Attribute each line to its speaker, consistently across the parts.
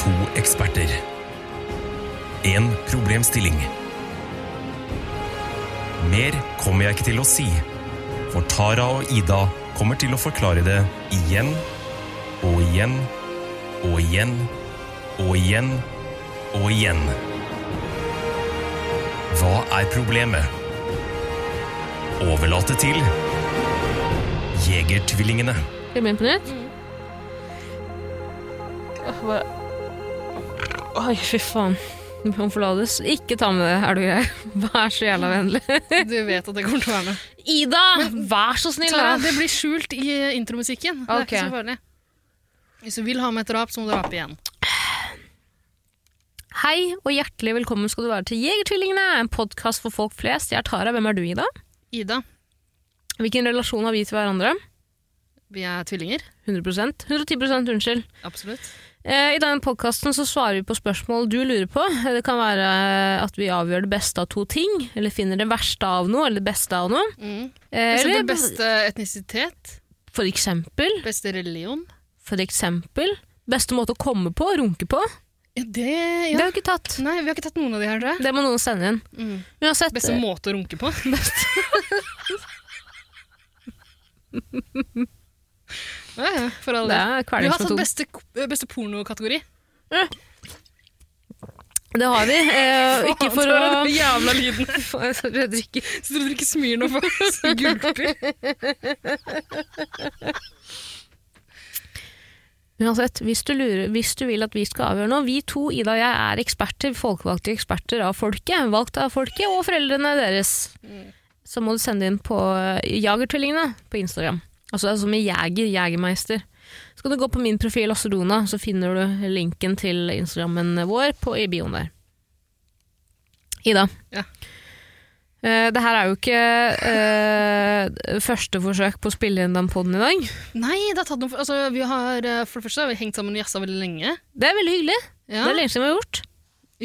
Speaker 1: To eksperter. En problemstilling. Mer kommer jeg ikke til å si, for Tara og Ida kommer til å forklare det igjen og igjen og igjen og igjen og igjen. Hva er problemet? Overlate til Jegertvillingene.
Speaker 2: Skal vi begynne på nytt? Åh, Hva Oi, fy faen. Omforlades. Ikke ta med det, er du grei? Vær så jævla vennlig.
Speaker 3: Du vet at det kommer til å være noe.
Speaker 2: Ida! Vær så snill,
Speaker 3: Tara,
Speaker 2: da!
Speaker 3: det blir skjult i intromusikken. Det er
Speaker 2: Ok.
Speaker 3: ikke så farlig. Hvis du vil ha med et drap, så må du rape igjen.
Speaker 2: Hei og hjertelig velkommen skal du være til Jegertvillingene, en podkast for folk flest. Jeg er Tara. Hvem er du, Ida?
Speaker 3: Ida,
Speaker 2: Hvilken relasjon har vi til hverandre?
Speaker 3: vi er tvillinger.
Speaker 2: 100 110 unnskyld.
Speaker 3: Absolutt.
Speaker 2: Eh, I denne podkasten så svarer vi på spørsmål du lurer på. Det kan være eh, at vi avgjør det beste av to ting, eller finner det verste av noe, eller det beste av noe.
Speaker 3: Mm.
Speaker 2: Eh,
Speaker 3: Kanskje
Speaker 2: eller
Speaker 3: det beste etnisitet,
Speaker 2: For eksempel,
Speaker 3: beste religion.
Speaker 2: for eksempel, beste måte å komme på, runke på.
Speaker 3: Ja, det,
Speaker 2: Det
Speaker 3: ja.
Speaker 2: har vi ikke tatt.
Speaker 3: Nei, vi har ikke tatt noen av de her, tror jeg.
Speaker 2: Det må noen sende inn.
Speaker 3: Mm.
Speaker 2: Uansett,
Speaker 3: Beste måte å runke på. ja, ja, for all
Speaker 2: det
Speaker 3: del.
Speaker 2: er
Speaker 3: Du har tatt
Speaker 2: kvelingsmetode.
Speaker 3: beste, beste pornokategori.
Speaker 2: Det har vi. Eh, ikke
Speaker 3: Faen,
Speaker 2: for
Speaker 3: Tara,
Speaker 2: å
Speaker 3: Den jævla lyden.
Speaker 2: Faen, jeg trodde jeg drikker.
Speaker 3: Så du drikker Smirnoff og gulper.
Speaker 2: Uansett, hvis du, lurer, hvis du vil at vi skal avgjøre noe Vi to, Ida og jeg, er eksperter, folkevalgte eksperter av folket. Valgt av folket og foreldrene deres.
Speaker 3: Mm.
Speaker 2: Så må du sende inn på eh, Jagertvillingene på Instagram. Altså det er som i Jeger, Jegermeister. Så kan du gå på min profil, Asterona, så finner du linken til Instagrammen vår på, i bioen der. Ida.
Speaker 3: Ja.
Speaker 2: Eh, det her er jo ikke eh, første forsøk på å spille inn den poden i dag.
Speaker 3: Nei, det har tatt noen, altså, vi har, eh, for det første har vi hengt sammen og jazza veldig lenge.
Speaker 2: Det er veldig hyggelig.
Speaker 3: Ja.
Speaker 2: Det er lenge siden vi har gjort.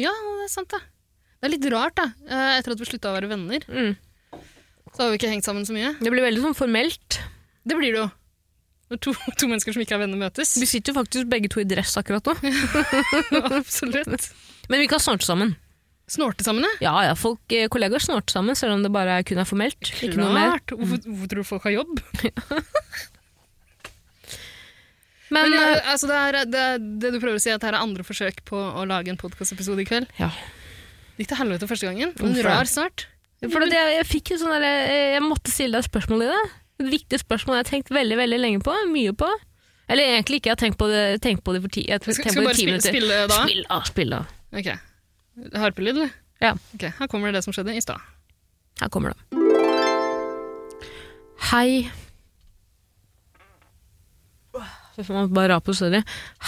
Speaker 3: ja, det er sant, da. Det er litt rart, da. Eh, Etter at vi slutta å være venner,
Speaker 2: Mm.
Speaker 3: så har vi ikke hengt sammen så mye.
Speaker 2: Det blir veldig sånn formelt.
Speaker 3: Det blir det jo. Når to, to mennesker som ikke er venner, møtes.
Speaker 2: Vi sitter jo faktisk begge to i dress akkurat nå.
Speaker 3: Absolutt.
Speaker 2: Men vi kan snorte sammen.
Speaker 3: Snorte sammen, ja.
Speaker 2: Ja, ja, folk, eh, Kollegaer snorter sammen, selv om det bare er- kun er formelt. Ikke noe mer. Mm.
Speaker 3: Klart. Hvorfor, hvorfor tror du folk har jobb?
Speaker 2: Men,
Speaker 3: Men,
Speaker 2: eh,
Speaker 3: eh, altså, det, er, det, er, det du prøver å si, er at her er andre forsøk på å lage en podkastepisode i kveld.
Speaker 2: Ja.
Speaker 3: Det gikk til helvete første gangen. Men
Speaker 2: Hvorfor?
Speaker 3: rar snart.
Speaker 2: for at jeg, jeg fikk jo sånn der, eh, jeg måtte stille deg et spørsmål i det. Et viktig spørsmål jeg har tenkt veldig veldig lenge på. Mye på. Eller egentlig ikke, jeg har tenkt på det, tenkt på det for ti, jeg har
Speaker 3: Skal,
Speaker 2: tenkt
Speaker 3: skal
Speaker 2: på
Speaker 3: vi
Speaker 2: det i
Speaker 3: bare
Speaker 2: ti
Speaker 3: spille,
Speaker 2: minutter.
Speaker 3: spille da?
Speaker 2: Spill av, spill av.
Speaker 3: Ok. Harpelyd, eller?
Speaker 2: Ja.
Speaker 3: Ok, Her kommer det som skjedde i stad.
Speaker 2: Her kommer det. Hei Fy faen, jeg må bare rape, sorry.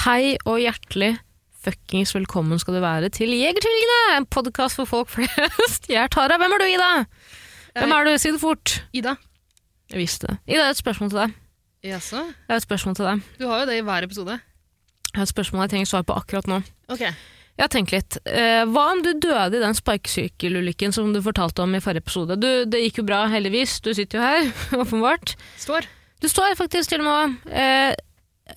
Speaker 2: Hei og hjertelig fuckings velkommen skal du være til Jegertvillingene! En podkast for folk flest. Jeg er Tara. Hvem er du, Ida? Hvem er du? Si det fort.
Speaker 3: Ida.
Speaker 2: Jeg visste det. Ida, jeg har et spørsmål til deg.
Speaker 3: Jaså?
Speaker 2: Jeg har et spørsmål til deg.
Speaker 3: Du har jo det i hver episode.
Speaker 2: Jeg har et spørsmål jeg trenger svar på akkurat nå.
Speaker 3: Ok.
Speaker 2: Jeg har tenkt litt. Eh, hva om du døde i den sparkesykkelulykken som du fortalte om i forrige episode? Du, det gikk jo bra, heldigvis. Du sitter jo her, åpenbart.
Speaker 3: Står.
Speaker 2: Du står faktisk til og med eh,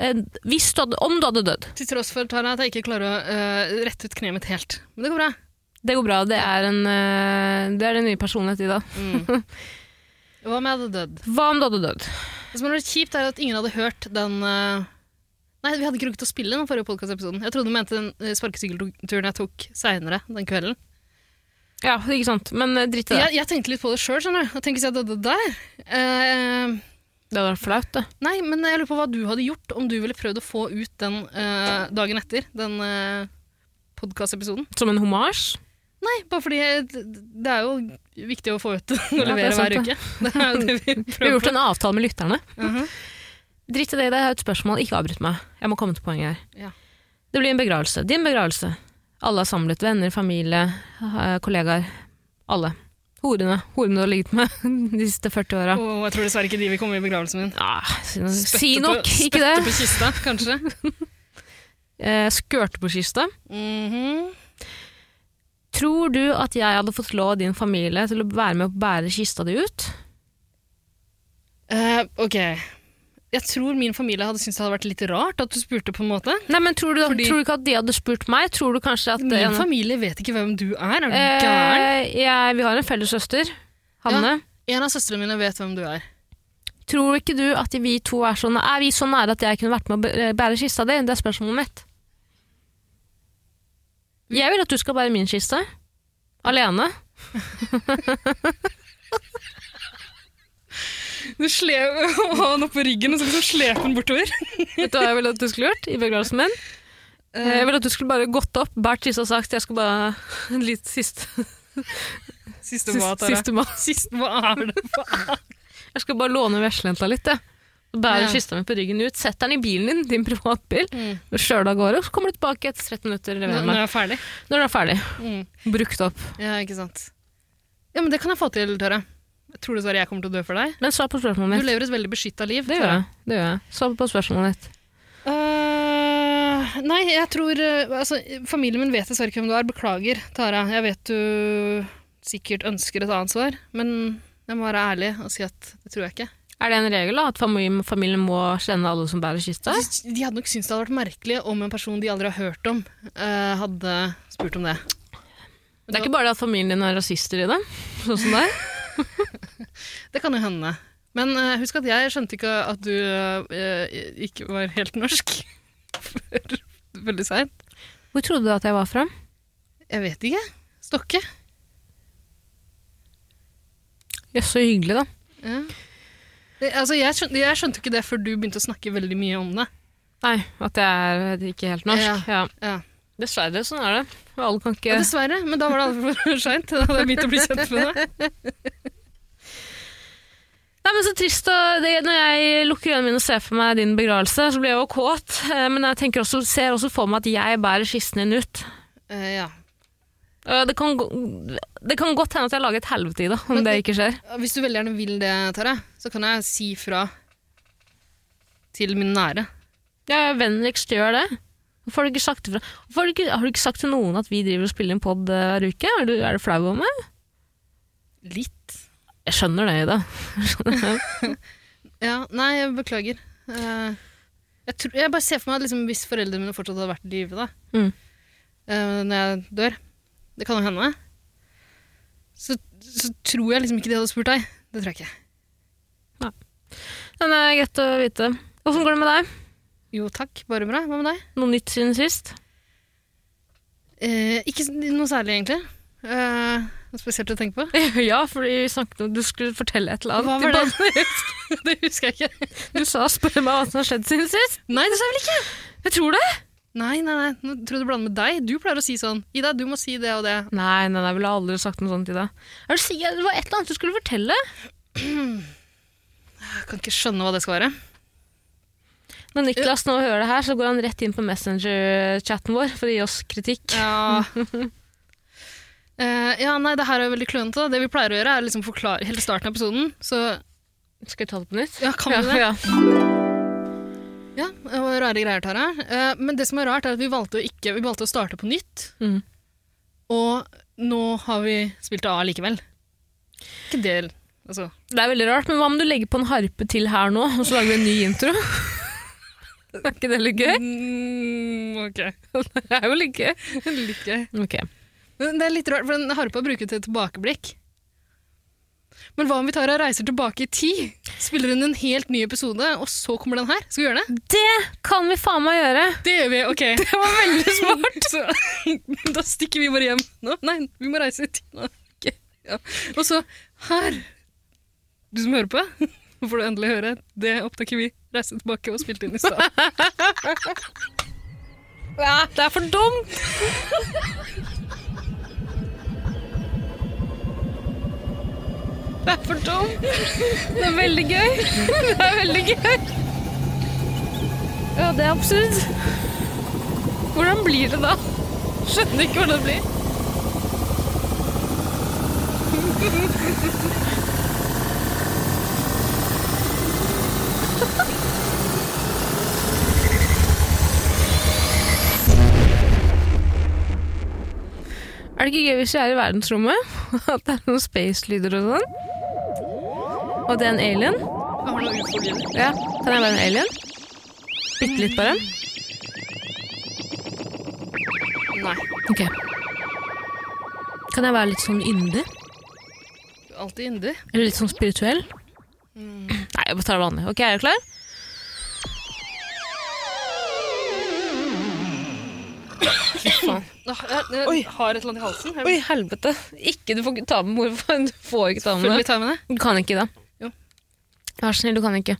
Speaker 2: eh, hvis du hadde, Om du hadde dødd.
Speaker 3: Til tross for Tara, at jeg ikke klarer å eh, rette ut kneet mitt helt. Men det går bra.
Speaker 2: Det går bra. Det er, en, eh, det er din nye personlighet, Ida.
Speaker 3: Mm. Hva om jeg hadde dødd?
Speaker 2: Hva om du hadde dødd?
Speaker 3: Det som hadde vært kjipt, er at ingen hadde hørt den eh, Nei, vi hadde ikke rukket å spille den forrige podkastepisoden. Jeg trodde du mente den eh, sparkesykkelturen jeg tok seinere den kvelden.
Speaker 2: Ja, ikke sant. Men eh, dritt i det.
Speaker 3: Jeg, jeg tenkte litt på det sjøl, skjønner du. Og Tenk hvis jeg døde der. Eh,
Speaker 2: Det hadde vært flaut, det.
Speaker 3: Nei, men jeg lurer på hva du hadde gjort om du ville prøvd å få ut den eh, dagen etter, den uh, podkastepisoden.
Speaker 2: Som en homasj.
Speaker 3: Nei, bare fordi det det er jo viktig å få ut og
Speaker 2: Ja, det er
Speaker 3: levere
Speaker 2: sant,
Speaker 3: hver
Speaker 2: det.
Speaker 3: uke. Det er jo det vi
Speaker 2: Vi har
Speaker 3: prøver
Speaker 2: gjort
Speaker 3: på.
Speaker 2: en avtale med lytterne.
Speaker 3: Mhm.
Speaker 2: Dritt i det, Ida. jeg har et spørsmål. Ikke avbryt meg. Jeg må komme til poenget her.
Speaker 3: Ja.
Speaker 2: Det blir en begravelse. Din begravelse. Alle er samlet. Venner, familie, eh, kollegaer. Alle. Horene. Horene du har ligget med de siste 40 åra.
Speaker 3: Og jeg tror dessverre ikke de vil komme i begravelsen min.
Speaker 2: Ah, si,
Speaker 3: Spytte
Speaker 2: si
Speaker 3: på-
Speaker 2: nok, ikke det.
Speaker 3: Spytte på kista, kanskje.
Speaker 2: Eh, skørte på kista.
Speaker 3: Mhm.
Speaker 2: Tror du at jeg hadde fått lov av din familie til å være med å bære kista di ut?
Speaker 3: Eh, ok. Jeg tror min familie hadde syntes det hadde vært litt rart at du spurte, på en måte.
Speaker 2: Nei, men tror du,
Speaker 3: Fordi-
Speaker 2: tror du ikke at de hadde spurt meg? Tror du kanskje at
Speaker 3: Min
Speaker 2: en-
Speaker 3: familie vet ikke hvem du er. Er du gæren?
Speaker 2: Eh, jeg, vi har en felles søster, Hanne.
Speaker 3: En av søstrene mine vet hvem du er.
Speaker 2: Tror ikke du at vi to er så, næ- er vi så nære at jeg kunne vært med å bæ- bære kista di? Det er spørsmålet mitt. Jeg vil at du skal bære min kiste. Alene.
Speaker 3: Du slev han opp på ryggen og så liksom slepe han bortover.
Speaker 2: Vet du hva jeg ville at du skulle gjort i begravelsen min?
Speaker 3: Mm.
Speaker 2: Eh, Jeg ville at du skulle bare gått opp, bært kista og sagt jeg skal bare en litt siste,
Speaker 3: Siste hva,
Speaker 2: siste,
Speaker 3: Tara?
Speaker 2: siste mat.
Speaker 3: Sist, hva er det? Hva er det?
Speaker 2: Jeg skal bare låne veslejenta litt, jeg. Så Bærer
Speaker 3: Ja.
Speaker 2: kista mi på ryggen ut, setter den i bilen din, din privatbil,
Speaker 3: Mm.
Speaker 2: kjører du av gårde, og så kommer du tilbake etter 13 minutter.
Speaker 3: Nå,
Speaker 2: leverer
Speaker 3: nå
Speaker 2: meg.
Speaker 3: er jeg ferdig.
Speaker 2: Når den er ferdig.
Speaker 3: Mm.
Speaker 2: Brukt opp.
Speaker 3: Ja, ikke sant. Ja, men det kan jeg få til, Tara. Tror du dessverre jeg kommer til å dø for deg?
Speaker 2: Men svar på
Speaker 3: Du
Speaker 2: spørsmålet mitt.
Speaker 3: lever et veldig beskytta liv.
Speaker 2: Det gjør jeg. det gjør jeg. Svar på spørsmålet ditt.
Speaker 3: Eh, nei, jeg tror eh, altså, Familien min vet dessverre ikke hvem du er. Beklager, Tara. Jeg vet du sikkert ønsker et annet svar, men jeg må være ærlig og si at det tror jeg ikke.
Speaker 2: Er det en regel da, at fami- familien må kjenne alle som bærer kista?
Speaker 3: De, de hadde nok syntes det hadde vært merkelig om en person de aldri har hørt om, eh, hadde spurt om det.
Speaker 2: Det er ikke bare det at familien din er rasister i det, sånn som deg.
Speaker 3: Det kan jo hende. Men eh, husk at jeg skjønte ikke at du eh, ikke var helt norsk før veldig seint.
Speaker 2: Hvor trodde du at jeg var fra?
Speaker 3: Jeg vet ikke. Stokke.
Speaker 2: Jøss, så hyggelig, da.
Speaker 3: Ja. Det, altså, jeg, skjønte, jeg skjønte ikke det før du begynte å snakke veldig mye om det.
Speaker 2: Nei, at jeg er ikke helt norsk. Ja.
Speaker 3: Ja.
Speaker 2: Dessverre, sånn er det. Alle kan
Speaker 3: Ja,
Speaker 2: ikke
Speaker 3: dessverre, men da var det aldri for seint. Da hadde jeg begynt å bli kjent med det.
Speaker 2: Nei, men så trist å, det, Når jeg lukker øynene mine og ser for meg din begravelse, så blir jeg jo kåt. Eh, Men jeg tenker også, ser også for meg at jeg bærer kisten din ut.
Speaker 3: Eh, ja.
Speaker 2: Eh, Det kan, gå- det kan godt hende at jeg lager et helvete i det, om
Speaker 3: Men
Speaker 2: det
Speaker 3: det-
Speaker 2: ikke skjer.
Speaker 3: Hvis du veldig gjerne vil det, Tara, så kan jeg si fra til min nære.
Speaker 2: Ja, vennligst gjør det. Hvorfor har du ikke sagt ifra? Hvorfor Har, du ikke- har du ikke sagt til noen at vi driver og spiller en pod eh, hver uke? Er du, er du flau over meg?
Speaker 3: Litt.
Speaker 2: Jeg skjønner det, Ida.
Speaker 3: Ja, nei, jeg beklager. Eh, jeg, tror, jeg bare ser for meg at liksom, hvis foreldrene mine fortsatt hadde vært i live da,
Speaker 2: Mm.
Speaker 3: eh, når jeg dør Det kan jo hende. Så, så tror jeg liksom ikke de hadde spurt deg. Det tror jeg ikke.
Speaker 2: Men det er greit å vite. Åssen går det med deg?
Speaker 3: Jo takk, bare bra. Hva med deg?
Speaker 2: Noe nytt siden sist?
Speaker 3: Eh, ikke s- noe særlig, egentlig. Eh, noe spesielt å tenke på.
Speaker 2: Ja, fordi vi snakket om du skulle fortelle et eller annet.
Speaker 3: Hva var det? det husker jeg ikke.
Speaker 2: Du sa 'spør meg hva som har skjedd siden sist'.
Speaker 3: Nei, det sa jeg vel ikke!
Speaker 2: Jeg tror det.
Speaker 3: Nei, nei, nei. Nå tror jeg du blander med deg. Du pleier å si sånn. Ida, du må si det og det.
Speaker 2: Nei, nei, nei, jeg ville aldri sagt noe sånt til deg. Er du sikker? Det var et eller annet du skulle fortelle.
Speaker 3: Jeg kan ikke skjønne hva det skal være.
Speaker 2: Når Niklas nå hører det her, så går han rett inn på Messenger-chatten vår for å gi oss kritikk.
Speaker 3: Ja. Eh, ja, nei, det her er jo veldig klønete. da. Det vi pleier å gjøre, er liksom forklare hele starten av episoden. Så
Speaker 2: Skal vi ta det på nytt?
Speaker 3: ja, kan vi det?
Speaker 2: ja.
Speaker 3: Ja, det var rare greier, Tara. Eh, men det som er rart, er at vi valgte å, ikke, vi valgte å starte på nytt.
Speaker 2: Mm.
Speaker 3: Og nå har vi spilt det av likevel. Ikke det, altså.
Speaker 2: Det er veldig rart, men hva om du legger på en harpe til her nå, og så lager vi en ny intro? er ikke det litt gøy?
Speaker 3: Mm, ok.
Speaker 2: Det Eh? er jo litt gøy.
Speaker 3: Litt gøy.
Speaker 2: Ok.
Speaker 3: Men Det er litt rart, for den harpa bruker til tilbakeblikk. Men hva om vi tar og reiser tilbake i tid? Spiller hun en helt ny episode, og så kommer den her? Skal vi gjøre det?
Speaker 2: Det kan vi faen meg gjøre!
Speaker 3: Det gjør vi, ok.
Speaker 2: Det var veldig smart!
Speaker 3: Så, da stikker vi bare hjem nå. Nei, vi må reise i tid nå. Ok, Ja. Og så her, du som hører på, nå får du endelig høre. Det opptaket vi reiste tilbake og spilte inn i stad.
Speaker 2: det er for dumt! Det er for dumt! Det er veldig gøy. Det er veldig gøy. Ja, det er absurd. Hvordan blir det da? Skjønner ikke hvordan det blir. Er det ikke gøy hvis vi er i verdensrommet? At det er noen space-lyder og sånn? Og det er en alien?
Speaker 3: Jeg har noe ufo-lyder.
Speaker 2: Ja. Kan jeg være en alien? Bitte litt, bare?
Speaker 3: Nei.
Speaker 2: Ok. Kan jeg være litt sånn yndig?
Speaker 3: Du er alltid yndig.
Speaker 2: Eller litt sånn spirituell? Mm. Nei, jeg bare tar det vanlig. Ok, er du klar?
Speaker 3: Åh, Jeg, jeg
Speaker 2: Oi.
Speaker 3: har et eller annet i halsen. Jeg
Speaker 2: Oi, helvete. Ikke, du får ikke ta med morfar. Du får ikke ta
Speaker 3: Følg
Speaker 2: med
Speaker 3: litt her med det.
Speaker 2: Du kan ikke det.
Speaker 3: Jo.
Speaker 2: Vær så snill, du kan ikke.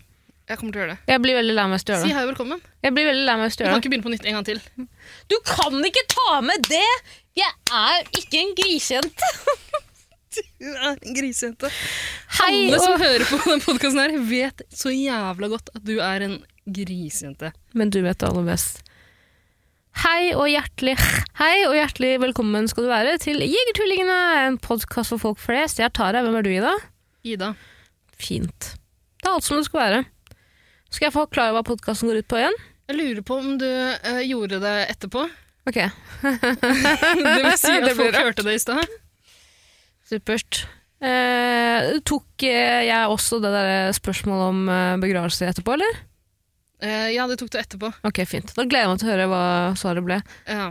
Speaker 3: Jeg kommer til å gjøre det.
Speaker 2: Jeg blir veldig lei meg hvis du gjør
Speaker 3: Si
Speaker 2: det.
Speaker 3: hei og velkommen.
Speaker 2: Jeg blir veldig lei meg hvis du
Speaker 3: Du
Speaker 2: gjør
Speaker 3: kan
Speaker 2: det.
Speaker 3: ikke begynne på nytt en gang til.
Speaker 2: Du kan ikke ta med det! Jeg er ikke en grisejente.
Speaker 3: Du er en grisejente.
Speaker 2: Hei,
Speaker 3: Alle som
Speaker 2: og...
Speaker 3: hører på den podkasten her, vet så jævla godt at du er en grisejente.
Speaker 2: Men du vet det aller best. Hei og hjertelig Hei og hjertelig velkommen skal du være til Jegertvillingene, en podkast for folk flest. Jeg er Tara. Hvem er du, Ida?
Speaker 3: Ida.
Speaker 2: Fint. Det er alt som det skal være. Skal jeg forklare hva podkasten går ut på igjen?
Speaker 3: Jeg lurer på om du eh, gjorde det etterpå.
Speaker 2: Ok,
Speaker 3: Det vil si at
Speaker 2: Det blir
Speaker 3: folk hørte det i stad.
Speaker 2: supert. Eh, tok eh, jeg også det der spørsmålet om eh, begravelse etterpå, eller?
Speaker 3: Eh, ja, det tok du etterpå.
Speaker 2: Ok, fint. Da gleder jeg meg til å høre hva svaret ble.
Speaker 3: Ja.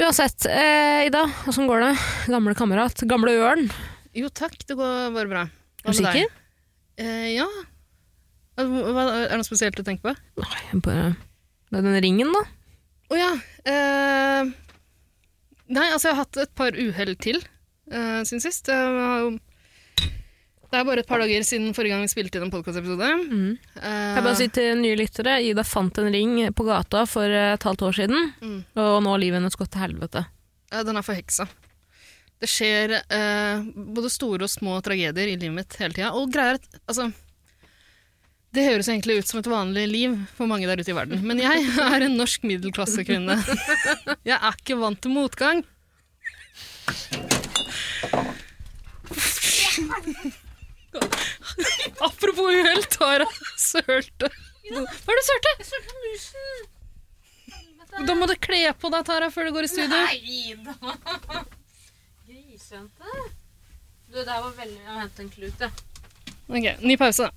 Speaker 2: Uansett, eh, Ida, åssen går det? Gamle kamerat, gamle ørn.
Speaker 3: Jo takk, det går bare bra.
Speaker 2: Er
Speaker 3: Hva
Speaker 2: du
Speaker 3: med deg?
Speaker 2: sikker?
Speaker 3: Eh, ja. Hva, hva- er det noe spesielt du tenker på?
Speaker 2: Nei, jeg bare... Det er den ringen, da.
Speaker 3: Å ja. eh, nei, altså jeg har hatt et par uhell til eh, siden sist. Jeg har jo, det er bare et par dager siden forrige gang vi spilte inn en Eh, podkastepisode.
Speaker 2: Jeg
Speaker 3: Ah.
Speaker 2: bare sier til nye lyttere, Ida fant en ring på gata for eh, et halvt år siden,
Speaker 3: Mm.
Speaker 2: og nå har livet hennes gått til helvete.
Speaker 3: Eh, den er forheksa. Det skjer eh, både store og små tragedier i livet mitt hele tida. Og greier at Altså Det høres egentlig ut som et vanlig liv for mange der ute i verden, men jeg er en norsk middelklassekvinne. Jeg er ikke vant til motgang. Apropos uhell, Tara sølte. Hva er det du sølte? Jeg sølte musen. Da må du kle på deg, Tara, før du går i studio.
Speaker 2: Grisejente? Du, det her var veldig Jeg må hente en klut, jeg.
Speaker 3: Ok, ny pause.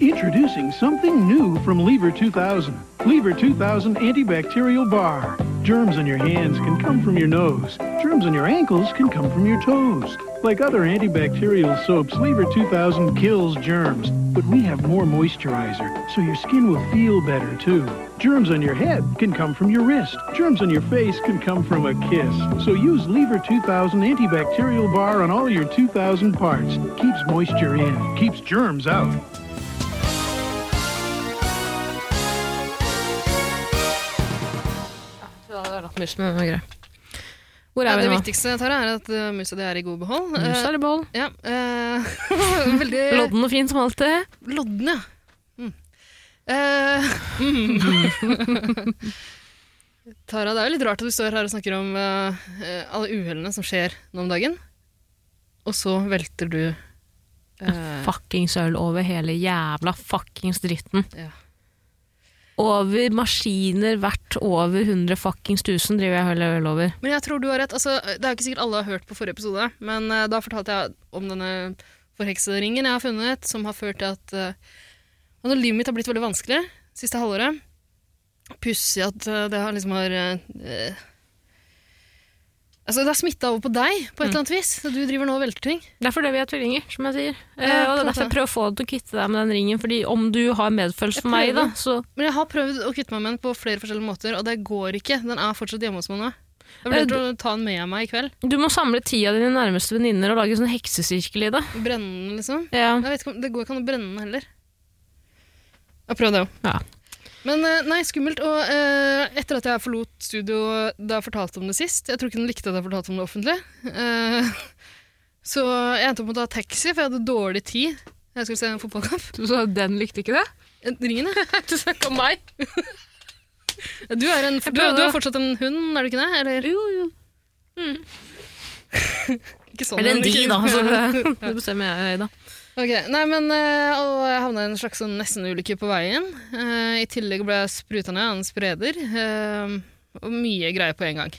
Speaker 4: Introducing something new from Lever 2000. Lever 2000 antibacterial bar. Germs on your hands can come from your nose. Germs on your ankles can come from your toes. Like other antibacterial soaps, Lever 2000 kills germs, but we have more moisturizer, so your skin will feel better too. Germs on your head can come from your wrist. Germs on your face can come from a kiss. So use Lever 2000 antibacterial bar on all your 2000 parts. Keeps moisture in, keeps germs out.
Speaker 2: Ja, det er latt musen, men det var greit. Hvor
Speaker 3: Ja,
Speaker 2: er
Speaker 3: det
Speaker 2: vi nå?
Speaker 3: viktigste Tara, er at eh, musa di er i god behold.
Speaker 2: Mus
Speaker 3: Eh,
Speaker 2: eller boll?
Speaker 3: ja, eh, veldig
Speaker 2: Lodden og fin som alltid.
Speaker 3: Lodden, ja. Mm. Eh, mm. Tara, det er jo litt rart at du står her og snakker om eh, eh, alle uhellene som skjer nå om dagen, og så velter du eh,
Speaker 2: Fuckings øl over hele jævla fuckings dritten.
Speaker 3: Ja.
Speaker 2: Over maskiner verdt over 100 fuckings 1000 driver jeg og heller øl over.
Speaker 3: Men jeg tror du har rett. Altså, det er jo ikke sikkert alle har hørt på forrige episode, men eh, da fortalte jeg om denne forheksede ringen jeg har funnet, som har ført til at eh, og når livet mitt har blitt veldig vanskelig siste halvåret. Pussig at eh, det har liksom har eh, Altså, det har smitta over på deg på et eller annet vis. Så du driver nå og velter ting.
Speaker 2: Det er fordi vi er tvillinger, som jeg sier. Eh,
Speaker 3: Ja,
Speaker 2: og det
Speaker 3: på
Speaker 2: er
Speaker 3: en
Speaker 2: derfor
Speaker 3: måte.
Speaker 2: jeg prøver å få deg til å kvitte deg med den ringen. Fordi om du har medfølelse for meg,
Speaker 3: prøver.
Speaker 2: da, så
Speaker 3: Men jeg har prøvd å kvitte meg med den på flere forskjellige måter, og det går ikke. Den er fortsatt hjemme hos meg nå. Jeg
Speaker 2: Eh,
Speaker 3: blir nødt til å ta den med meg i kveld.
Speaker 2: Du må samle ti av dine nærmeste venninner og lage sånn heksesirkel i det.
Speaker 3: Brenne den, liksom.
Speaker 2: Ja.
Speaker 3: Jeg vet ikke om, det går ikke an å brenne den heller. Jeg prøvde det òg.
Speaker 2: Ja.
Speaker 3: Men eh, nei, skummelt. Og eh, etter at jeg forlot studio da jeg fortalte om det sist Jeg tror ikke hun likte at jeg fortalte om det offentlig. eh, så jeg endte opp med å ta taxi, for jeg hadde dårlig tid. Jeg skulle se en fotballkamp.
Speaker 2: Du sa den likte ikke det?
Speaker 3: Eh, Ringen, ja.
Speaker 2: Du snakka om meg.
Speaker 3: Du er, en, du,
Speaker 2: prøvde.
Speaker 3: du er fortsatt en hund, er du ikke det? Eller
Speaker 2: Jo, jo.
Speaker 3: ikke sånn
Speaker 2: Eller en
Speaker 3: hund,
Speaker 2: de,
Speaker 3: ikke-
Speaker 2: da. Altså, Så det, det bestemmer jeg, da.
Speaker 3: Ok, nei, men eh, og Jeg havna i en slags sånn nesten-ulykke på veien. Eh, I tillegg ble jeg spruta ned av en spreder. eh, Og mye greier på en gang.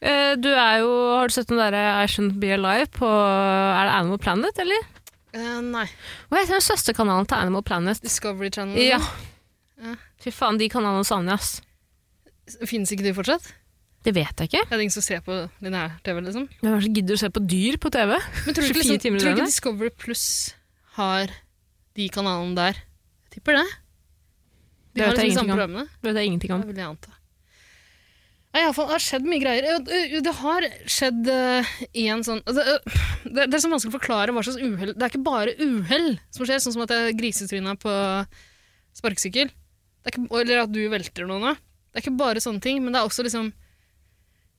Speaker 2: Eh, Du er jo, har du sett den derre I Shouldn't Be Alive på Er det Animal Planet, eller?
Speaker 3: Eh, nei.
Speaker 2: Hva heter den søsterkanalen til Animal Planet?
Speaker 3: Discovery Channel.
Speaker 2: Ja.
Speaker 3: Ja.
Speaker 2: Fy faen, de kanalene savner jeg, ass.
Speaker 3: Finnes ikke de fortsatt?
Speaker 2: Det vet jeg ikke.
Speaker 3: Det er ingen som ser på lineær-TV, liksom.
Speaker 2: Hvem er det som gidder å se på dyr på TV?
Speaker 3: Men tror du
Speaker 2: 24
Speaker 3: ikke, liksom,
Speaker 2: timer i
Speaker 3: tror du ikke
Speaker 2: døgnet?
Speaker 3: Discovery Pluss har de kanalene der? Jeg tipper det. De
Speaker 2: Det
Speaker 3: har
Speaker 2: vet jeg
Speaker 3: liksom de samme
Speaker 2: ingenting om.
Speaker 3: programmene.
Speaker 2: Det vet jeg ingenting om.
Speaker 3: Det vil jeg anta. Nei, i alle fall, det har skjedd mye greier. Jo, jo, Det har skjedd én sånn altså, eh, det, det er så vanskelig å forklare hva slags uhell Det er ikke bare uhell som skjer, sånn som at jeg grisetryna på sparkesykkel. Det er ikke- Eller at du velter noen av. Det er ikke bare sånne ting, men det er også liksom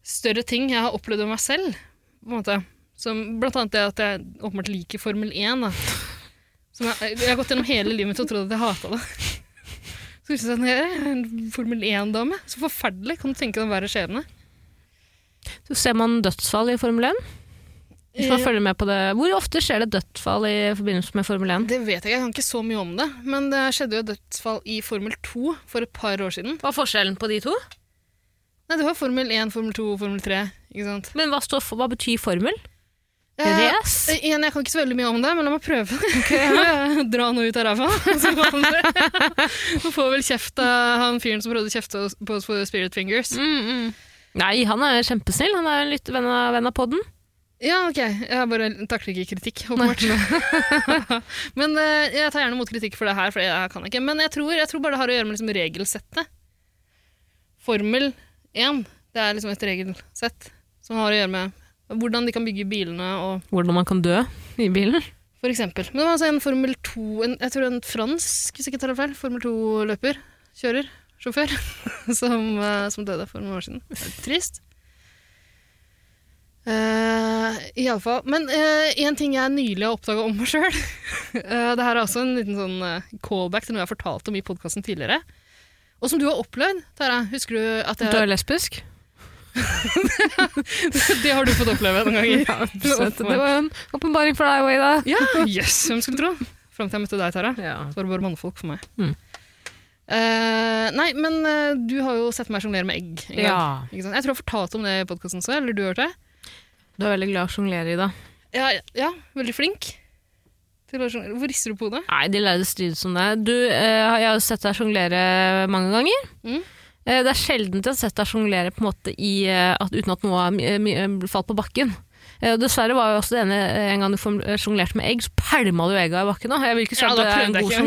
Speaker 3: større ting jeg har opplevd av meg selv. På en måte. Som blant annet det at jeg åpenbart liker Formel 1. Da. Som jeg, jeg har gått gjennom hele livet mitt og trodd at jeg hata det. Så husker jeg sånn, jeg er en Formel 1-dame. Så forferdelig. Kan du tenke deg å være skjebne?
Speaker 2: Så ser man dødsfall i Formel 1. Hvis
Speaker 3: Eh.
Speaker 2: man følger med på det. Hvor ofte skjer det dødsfall i forbindelse med Formel 1?
Speaker 3: Det vet jeg ikke, jeg kan ikke så mye om det. Men det skjedde jo et dødsfall i Formel 2 for et par år siden.
Speaker 2: Hva er forskjellen på de to?
Speaker 3: Nei, du har Formel 1, Formel 2, Formel 3, ikke sant?
Speaker 2: Men hva, står for, hva betyr formel?
Speaker 3: Eh,
Speaker 2: Race?
Speaker 3: eh, igjen, jeg kan ikke så veldig mye om det, men la meg prøve. Okay. Dra noe ut av ræva. så kan dere- Du får vel kjeft av han fyren som prøvde å kjefte oss- på oss for Spirit Fingers.
Speaker 2: Mm, Nei, han er kjempesnill. Han er en litt venn av, venn av podden.
Speaker 3: Ja, ok. Jeg bare takler ikke kritikk, åpenbart. men eh, jeg tar gjerne mot kritikk for det her, for det her kan jeg ikke. Men jeg tror, jeg tror bare det har å gjøre med liksom regelsettet. Formel 1, det er liksom et regelsett som har å gjøre med hvordan de kan bygge bilene og
Speaker 2: Hvordan man kan dø i bilen.
Speaker 3: for eksempel. Men det var altså en Formel 2, en, jeg tror en fransk, hvis jeg ikke tar det feil, Formel 2-løper, kjører, sjåfør, som, eh, som døde for noen år siden. Det er Trist. Uh, i alle fall. Men eh, en ting jeg nylig har oppdaga om meg sjøl uh, Det her er også en liten sånn eh, callback til noe jeg har fortalt om i podkasten tidligere. Og som du har opplevd, Tara. Husker du at
Speaker 2: Du
Speaker 3: jeg,
Speaker 2: er lesbisk.
Speaker 3: Det har du fått oppleve noen ganger.
Speaker 2: Ja, det var en åpenbaring for deg, Wada.
Speaker 3: Ja, yes, hvem skulle tro? Fram til jeg møtte deg, Tara.
Speaker 2: Ja.
Speaker 3: Så var det bare mannfolk for meg.
Speaker 2: Mm.
Speaker 3: Eh, nei, men eh, du har jo sett meg sjonglere med egg. en gang,
Speaker 2: Ja.
Speaker 3: Ikke sant? Jeg tror jeg fortalte om det i podkasten også. Eller du hørte det?
Speaker 2: Du er veldig glad i å sjonglere, Ida.
Speaker 3: Ja, ja, veldig flink. Til å sjonglere. Hvor rister du på hodet?
Speaker 2: Nei, de lærde strides som det. Du, eh, jeg har jo sett deg sjonglere mange ganger.
Speaker 3: Mm.
Speaker 2: Eh, det er sjelden jeg har sett deg sjonglere på en måte i, eh, at, uten at noe er mi- mi- falt på bakken. Eh, og dessverre var jo også det ene en gang du form- eh, sjonglerte med egg, så pælma du egga i bakken. Da. Jeg vil ikke si
Speaker 3: Ja,
Speaker 2: at
Speaker 3: da
Speaker 2: det er en
Speaker 3: prøvde jeg
Speaker 2: god
Speaker 3: ikke.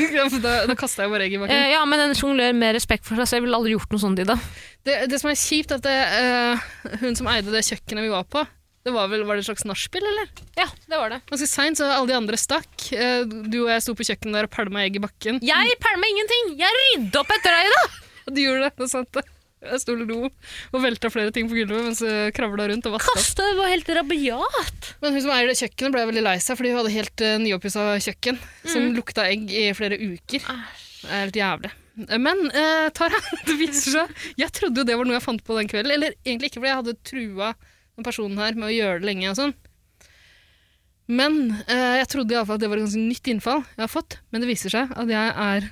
Speaker 2: sjonglør.
Speaker 3: Ja, for da da kasta jeg bare egg i bakken.
Speaker 2: Eh, ja, men en sjonglør med respekt for seg selv ville aldri gjort noe sånt, Ida.
Speaker 3: Det, det som er kjipt, er at det, eh, hun som eide det kjøkkenet vi var på, det var vel var det et slags nachspiel, eller?
Speaker 2: Ja, det var det.
Speaker 3: Ganske seint, så alle de andre stakk. Eh, du og jeg sto på kjøkkenet der og pælma egg i bakken.
Speaker 2: Jeg pælma ingenting! Jeg rydda opp etter deg, Ida!
Speaker 3: Og du gjorde det, det er sant det. Jeg sto og lo og velta flere ting på gulvet mens jeg kravla rundt og vaska.
Speaker 2: Kasta det var helt rabiat.
Speaker 3: Men hun som eier det kjøkkenet ble veldig lei seg, fordi hun hadde helt uh, nyoppussa kjøkken som lukta egg i flere uker. Det er helt jævlig. Eh, Men eh, Tara, det viser seg Jeg trodde jo det var noe jeg fant på den kvelden. Eller egentlig ikke, fordi jeg hadde trua den personen her med å gjøre det lenge og sånn. Men eh, jeg trodde iallfall at det var et ganske nytt innfall jeg har fått. Men det viser seg at jeg er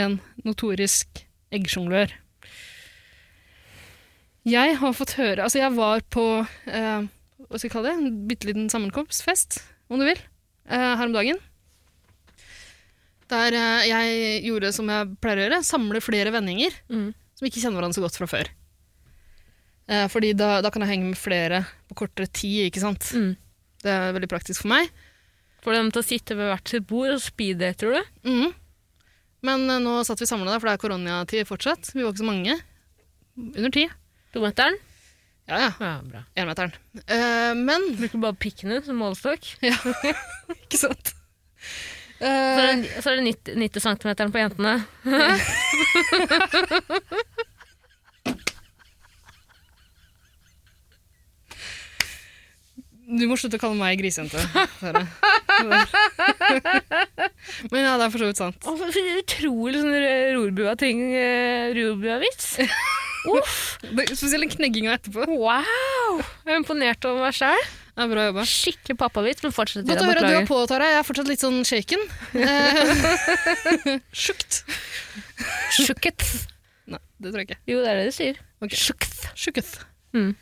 Speaker 3: en notorisk eggsjonglør. Jeg har fått høre Altså, jeg var på eh, hva skal jeg kalle det, en bitte liten sammenkomstfest, om du vil, eh, her om dagen. Der eh, jeg gjorde som jeg pleier å gjøre, samle flere vendinger
Speaker 2: Mm.
Speaker 3: som ikke kjenner hverandre så godt fra før. Eh, fordi da, da kan jeg henge med flere på kortere tid, ikke sant?
Speaker 2: Mm.
Speaker 3: Det er veldig praktisk for meg.
Speaker 2: Får dem til å sitte ved hvert sitt bord og speede, tror du?
Speaker 3: Mhm. Men eh, nå satt vi samla der, for det er koronatid fortsatt. Vi var ikke så mange. Under ti.
Speaker 2: Tometeren?
Speaker 3: Ja, ja.
Speaker 2: Ja, bra.
Speaker 3: Énmeteren. Eh, men
Speaker 2: Bruker bare pikkene som målestokk.
Speaker 3: Ikke sant?
Speaker 2: Så
Speaker 3: Eh,
Speaker 2: er det, så er det 90, 90 cm på jentene.
Speaker 3: Du må slutte å kalle meg grisejente. Sara. Men ja, det er for så vidt sant.
Speaker 2: Å, for- for Utrolig sånn r- rorbua-ting. eh, Rorbua-vits. Uff!
Speaker 3: Det, spesielt den knegginga etterpå.
Speaker 2: Wow! Jeg er imponert over meg sjøl.
Speaker 3: Det er bra jobba.
Speaker 2: Skikkelig pappavits, men fortsett.
Speaker 3: Godt
Speaker 2: Ida,
Speaker 3: å høre at du
Speaker 2: beklager.
Speaker 3: er på, Tara. Jeg er fortsatt litt sånn shaken. Eh, Sjukt.
Speaker 2: Sjukket.
Speaker 3: Nei, det tror jeg ikke.
Speaker 2: Jo, det er det de sier.
Speaker 3: Ok.
Speaker 2: Sjukth.
Speaker 3: Sjukket.
Speaker 2: Mm.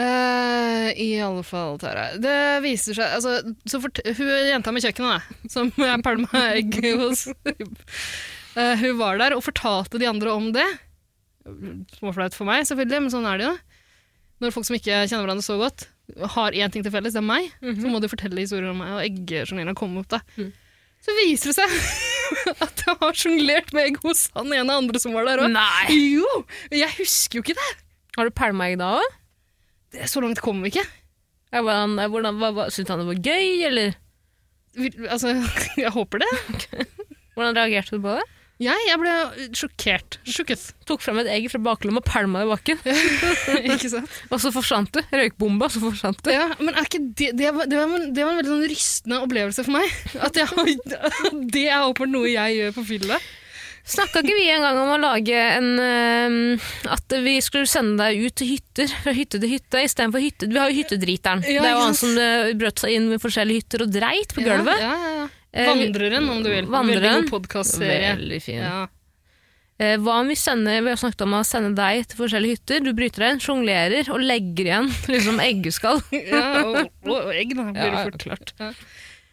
Speaker 3: Eh, I alle fall, Tara. Det viser seg altså, så fort, Hun jenta med kjøkkenet, da, som jeg pælma egg hos eh, Hun var der og fortalte de andre om det. Småflaut for meg, selvfølgelig, men sånn er det jo. Når folk som ikke kjenner hverandre så godt, har én ting til felles, det er meg,
Speaker 2: Mhm.
Speaker 3: så må de fortelle historier om meg, og eggsjongleringa kom opp. da.
Speaker 2: Mm.
Speaker 3: Så viser det seg at jeg har sjonglert med egg hos han ene andre som var der òg.
Speaker 2: Nei!
Speaker 3: Jo! Jeg husker jo ikke det!
Speaker 2: Har du pælma egg da òg?
Speaker 3: Det- Så langt kom vi ikke.
Speaker 2: eh, Syntes han det var gøy, eller?
Speaker 3: Vil- Altså, jeg håper det.
Speaker 2: Hvordan reagerte du på det?
Speaker 3: Jeg, jeg ble sjokkert. Sjukket.
Speaker 2: Tok fram et egg fra baklomma, pælma det i bakken,
Speaker 3: ikke sant?
Speaker 2: og så forsvant det. Røykbomba, så forsvant det.
Speaker 3: Ja, men er ikke det, det, var, det, var en, det var en veldig sånn rystende opplevelse for meg. At jeg, har- det er åpenbart noe jeg gjør på fylla.
Speaker 2: Snakka ikke vi en gang om å lage en øhm, At vi skulle sende deg ut til hytter, fra hytte til hytte, istedenfor hytte Vi har jo hyttedriteren.
Speaker 3: Ja,
Speaker 2: det er jo
Speaker 3: ikke
Speaker 2: han
Speaker 3: sant?
Speaker 2: som øh, brøt seg inn ved forskjellige hytter og dreit på gulvet.
Speaker 3: Ja, ja, ja.
Speaker 2: Eh,
Speaker 3: Vandreren, om du vil. Veldig
Speaker 2: Vandreren.
Speaker 3: god podkastserie.
Speaker 2: Veldig fin.
Speaker 3: Ja.
Speaker 2: Eh, hva om vi sender, vi har snakket om å sende deg til forskjellige hytter, du bryter deg inn, sjonglerer og legger igjen liksom eggeskall.
Speaker 3: ja, og, og, og egg, da, blir det
Speaker 2: Ja,
Speaker 3: fort klart. Ja.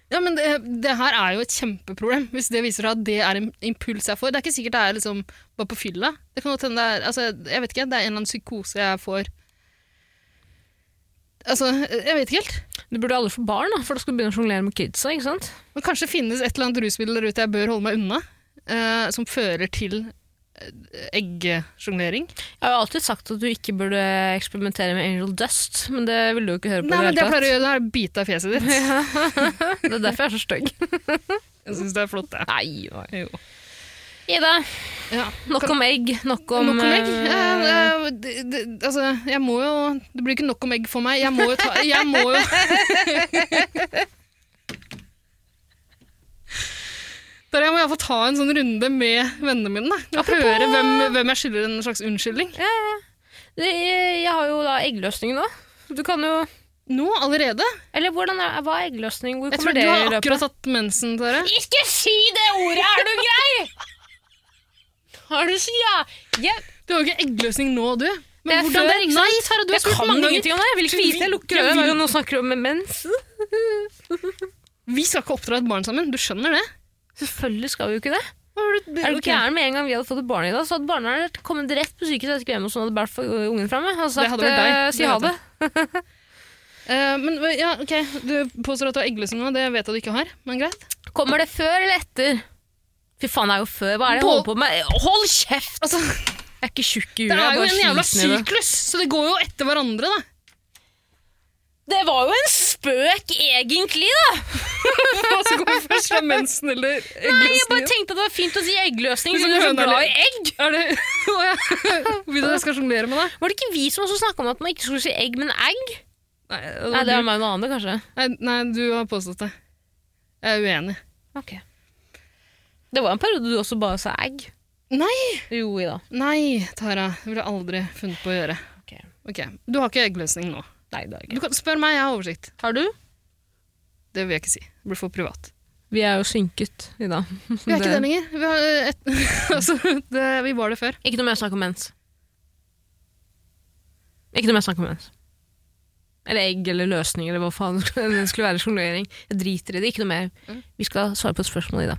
Speaker 3: Ja, men det, det her er jo et kjempeproblem, hvis det viser seg at det er en impuls jeg får. Det er ikke sikkert det er liksom bare på fylla. Det kan godt hende det er altså, Jeg vet ikke, det er en eller annen psykose jeg får Altså, jeg vet ikke helt.
Speaker 2: Du burde aldri få barn, da, for da skal du begynne å sjonglere med kidsa. ikke sant?
Speaker 3: Men kanskje det finnes et eller annet rusmiddel der ute jeg bør holde meg unna, eh, som fører til eh, eggesjonglering.
Speaker 2: Jeg har jo alltid sagt at du ikke burde eksperimentere med angel dust, men det ville du jo ikke høre på.
Speaker 3: Nei,
Speaker 2: i
Speaker 3: men det jeg
Speaker 2: hele
Speaker 3: pleier å gjøre, det er å bite av fjeset ditt.
Speaker 2: tatt. det er derfor jeg er så stygg.
Speaker 3: Jeg syns det er flott, det.
Speaker 2: Nei, nei.
Speaker 3: Jo.
Speaker 2: Ida,
Speaker 3: Ja.
Speaker 2: nok om egg. Nok om,
Speaker 3: Nok om egg?
Speaker 2: eh,
Speaker 3: Eh, eh, det, det, altså, jeg må jo Det blir ikke nok om egg for meg. Jeg må jo ta Jeg må jo Der jeg må iallfall ta en sånn runde med vennene mine. Da. Og høre hvem, hvem jeg skylder en slags unnskyldning.
Speaker 2: det, jeg har jo da eggløsningen nå. Du kan jo
Speaker 3: Nå allerede?
Speaker 2: Eller hvordan er, hva er eggløsning? Hvor
Speaker 3: Jeg tror
Speaker 2: kommer
Speaker 3: du
Speaker 2: det i
Speaker 3: har
Speaker 2: løpet?
Speaker 3: akkurat tatt mensen, Tare.
Speaker 2: Ikke si det ordet! Er du grei? Har du så ja... Jeg,
Speaker 3: Du har jo ikke eggløsning nå, du.
Speaker 2: Det er før, ikke sant?
Speaker 3: Nei, Tara, du har
Speaker 2: jeg
Speaker 3: spurt
Speaker 2: kan
Speaker 3: mange ganger.
Speaker 2: ingenting om det. Jeg vil ikke vite. Jeg lukker øynene når noen snakker om mens.
Speaker 3: Vi skal ikke oppdra et barn sammen. Du skjønner det?
Speaker 2: Selvfølgelig skal vi jo ikke det.
Speaker 3: Er du
Speaker 2: Er du gæren med en gang vi hadde fått et barn i dag, så hadde barnevernet kommet rett på sykehuset etter hjemme og sånn hadde båret for øh, ungen framme og sagt
Speaker 3: hadde vært deg.
Speaker 2: eh,
Speaker 3: Det
Speaker 2: si ha
Speaker 3: vet
Speaker 2: det.
Speaker 3: Eh, men ja, ok, Du påstår at du har eggløsning nå, det vet jeg at du ikke har. Men greit.
Speaker 2: Kommer det før eller etter? Fy faen, det er jo før. Hva er det jeg
Speaker 3: På-
Speaker 2: holder på med? Hold kjeft!
Speaker 3: Altså,
Speaker 2: Jeg er ikke tjukk i
Speaker 3: det
Speaker 2: huet.
Speaker 3: er
Speaker 2: jeg
Speaker 3: jo
Speaker 2: bare
Speaker 3: en jævla
Speaker 2: sliten i det.
Speaker 3: syklus, så det går jo etter hverandre, da.
Speaker 2: Det var jo en spøk egentlig, da!
Speaker 3: Altså, går det først fra mensen eller
Speaker 2: Nei, jeg bare
Speaker 3: eggløsningen?
Speaker 2: tenkte at det var fint å si eggløsning,
Speaker 3: Hvis
Speaker 2: siden du er så
Speaker 3: høna
Speaker 2: glad i
Speaker 3: eller-
Speaker 2: egg.
Speaker 3: Er det Å ja. Vil du at jeg skal sjonglere med deg?
Speaker 2: Var det ikke vi som også snakka om at man ikke skulle si egg, men egg?
Speaker 3: Nei,
Speaker 2: Nei, det
Speaker 3: det
Speaker 2: var meg og noen andre, kanskje.
Speaker 3: nei, nei, du har påstått det. Jeg er uenig.
Speaker 2: Ok. Det var en periode du også bare sa egg.
Speaker 3: Nei!
Speaker 2: Jo, Ida.
Speaker 3: Nei, Tara. Det ville jeg aldri funnet på å gjøre.
Speaker 2: Ok.
Speaker 3: Ok, Du har ikke eggløsning nå.
Speaker 2: Nei, det har jeg
Speaker 3: Du
Speaker 2: ikke.
Speaker 3: kan Spør meg, jeg har oversikt.
Speaker 2: Har du?
Speaker 3: Det vil jeg ikke si. Det blir for privat.
Speaker 2: Vi er jo synket, Ida.
Speaker 3: Vi er ikke det lenger. Vi, har eh, et, altså, det, vi var det før.
Speaker 2: Ikke noe mer snakk om mens. Ikke noe mer snakk om mens. Eller egg eller løsning eller hva faen det skulle- det skulle være. Sjonglering. Jeg driter i det. Ikke noe mer.
Speaker 3: Mm.
Speaker 2: Vi skal svare på et spørsmål, Ida.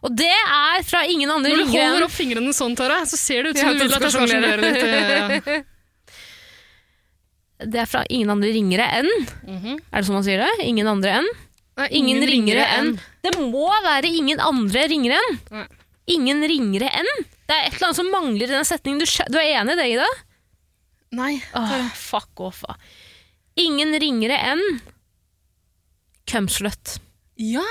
Speaker 2: Og det er fra ingen andre
Speaker 3: Når du
Speaker 2: ringere enn-
Speaker 3: holder opp fingrene sånn, Tara, så ser det ut
Speaker 2: Ja,
Speaker 3: som
Speaker 2: at
Speaker 3: du vil
Speaker 2: du
Speaker 3: at jeg
Speaker 2: skal
Speaker 3: skal sjonglere
Speaker 2: sjonglere.
Speaker 3: litt. eh,
Speaker 2: Det er fra ingen andre ringere enn
Speaker 3: Mhm.
Speaker 2: Er det sånn man sier det? Ingen andre enn?
Speaker 3: Nei,
Speaker 2: Ingen, ringere, enn. Det må være ingen andre ringere enn.
Speaker 3: Nei.
Speaker 2: Ingen ringere enn. Det er et eller annet som mangler i den setningen. Du, skjø- du er enig i det, Ida?
Speaker 3: Nei.
Speaker 2: Åh, fuck off, da. Ingen ringere enn Cumslut.
Speaker 3: Ja,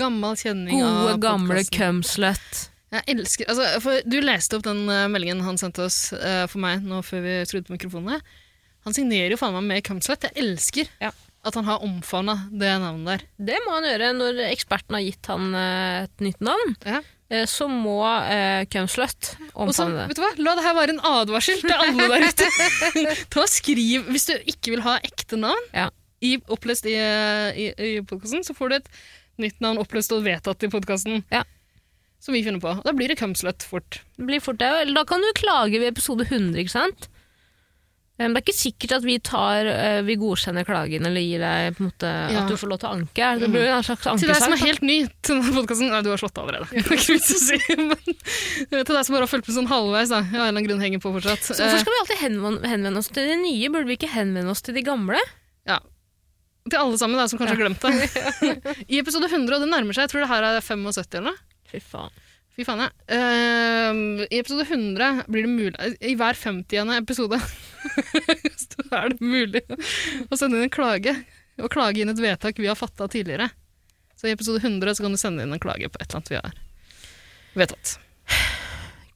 Speaker 3: gammel kjenning
Speaker 2: Gode,
Speaker 3: av
Speaker 2: gamle
Speaker 3: podcasten.
Speaker 2: cumslut.
Speaker 3: Jeg elsker, altså, for Du leste opp den eh, meldingen han sendte oss eh, for meg nå før vi skrudde på mikrofonene. Han signerer jo faen meg med Cumslut. Jeg elsker
Speaker 2: Ja.
Speaker 3: at han har omfavna det navnet der.
Speaker 2: Det må han gjøre når eksperten har gitt han eh, et nytt navn.
Speaker 3: Ja.
Speaker 2: Eh, Så må eh, cumslut
Speaker 3: Og så,
Speaker 2: omfavne det.
Speaker 3: vet du hva, La det her være en advarsel til alle der ute. Ta skriv, Hvis du ikke vil ha ekte navn
Speaker 2: Ja.
Speaker 3: i, opplest i, eh, i, i podkasten, så får du et nytt navn opplest og vedtatt i podkasten.
Speaker 2: Ja.
Speaker 3: som vi finner på. Da blir det cumslut fort.
Speaker 2: Det blir fort det. Eller Da kan du klage ved episode 100, ikke sant? Eh, Men det er ikke sikkert at vi, tar, eh, vi godkjenner klagen eller gir deg på en måte,
Speaker 3: Ja.
Speaker 2: at du får lov til å anke. Det blir jo en slags
Speaker 3: Til deg
Speaker 2: ankesak.
Speaker 3: som er
Speaker 2: da.
Speaker 3: helt ny til denne podkasten Nei, du har slått av allerede. Det er ikke vits å si, men eh, Til deg som bare har fulgt med sånn halvveis, da. Ja, av en eller annen grunn henger på fortsatt.
Speaker 2: Så hvorfor skal vi alltid henvende, henvende oss til de nye? Burde vi ikke henvende oss til de gamle?
Speaker 3: Eh, til alle sammen da, som kanskje har glemt det. I episode 100, og det nærmer seg, jeg tror det her er 75 eller noe.
Speaker 2: Fy faen.
Speaker 3: Fy faen, ja. Ehm, I episode 100 blir det mulig eh, I hver 50. episode så er det mulig å sende inn en klage. Og klage inn et vedtak vi har fatta tidligere. Så i episode 100 så kan du sende inn en klage på et eller annet vi har vedtatt.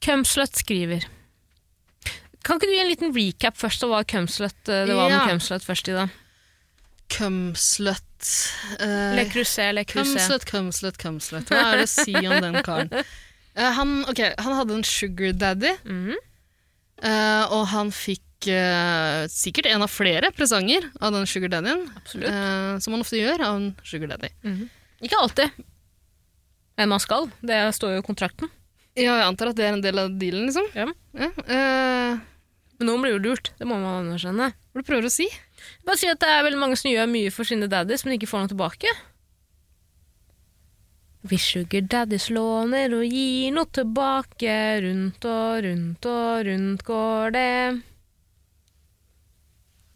Speaker 2: Cumslut skriver. Kan ikke du gi en liten recap først av hva Cumslut eh, det var
Speaker 3: Ja.
Speaker 2: med Cumslut først i dag?
Speaker 3: Cumslut Eh,
Speaker 2: Le Crusé, Le Crusé.
Speaker 3: Cumslut, cumslut, cumslut. Hva er det å si om den karen? Eh, han, ok, han hadde en sugar daddy,
Speaker 2: Mhm.
Speaker 3: eh, og han fikk eh, sikkert en av flere presanger av den sugar daddyen.
Speaker 2: Absolutt.
Speaker 3: Eh, som man ofte gjør av en sugar daddy.
Speaker 2: Ikke alltid. Men man skal. Det står jo i kontrakten.
Speaker 3: Ja, jeg antar at det er en del av dealen, liksom.
Speaker 2: Ja.
Speaker 3: eh,
Speaker 2: Men noen blir jo lurt. Det må man anerkjenne.
Speaker 3: hva du prøver å si?
Speaker 2: Bare si at det er veldig mange som gjør mye for sine daddies, men ikke får noe tilbake. Vi sugar daddies låner og gir noe tilbake, rundt og rundt og rundt går det.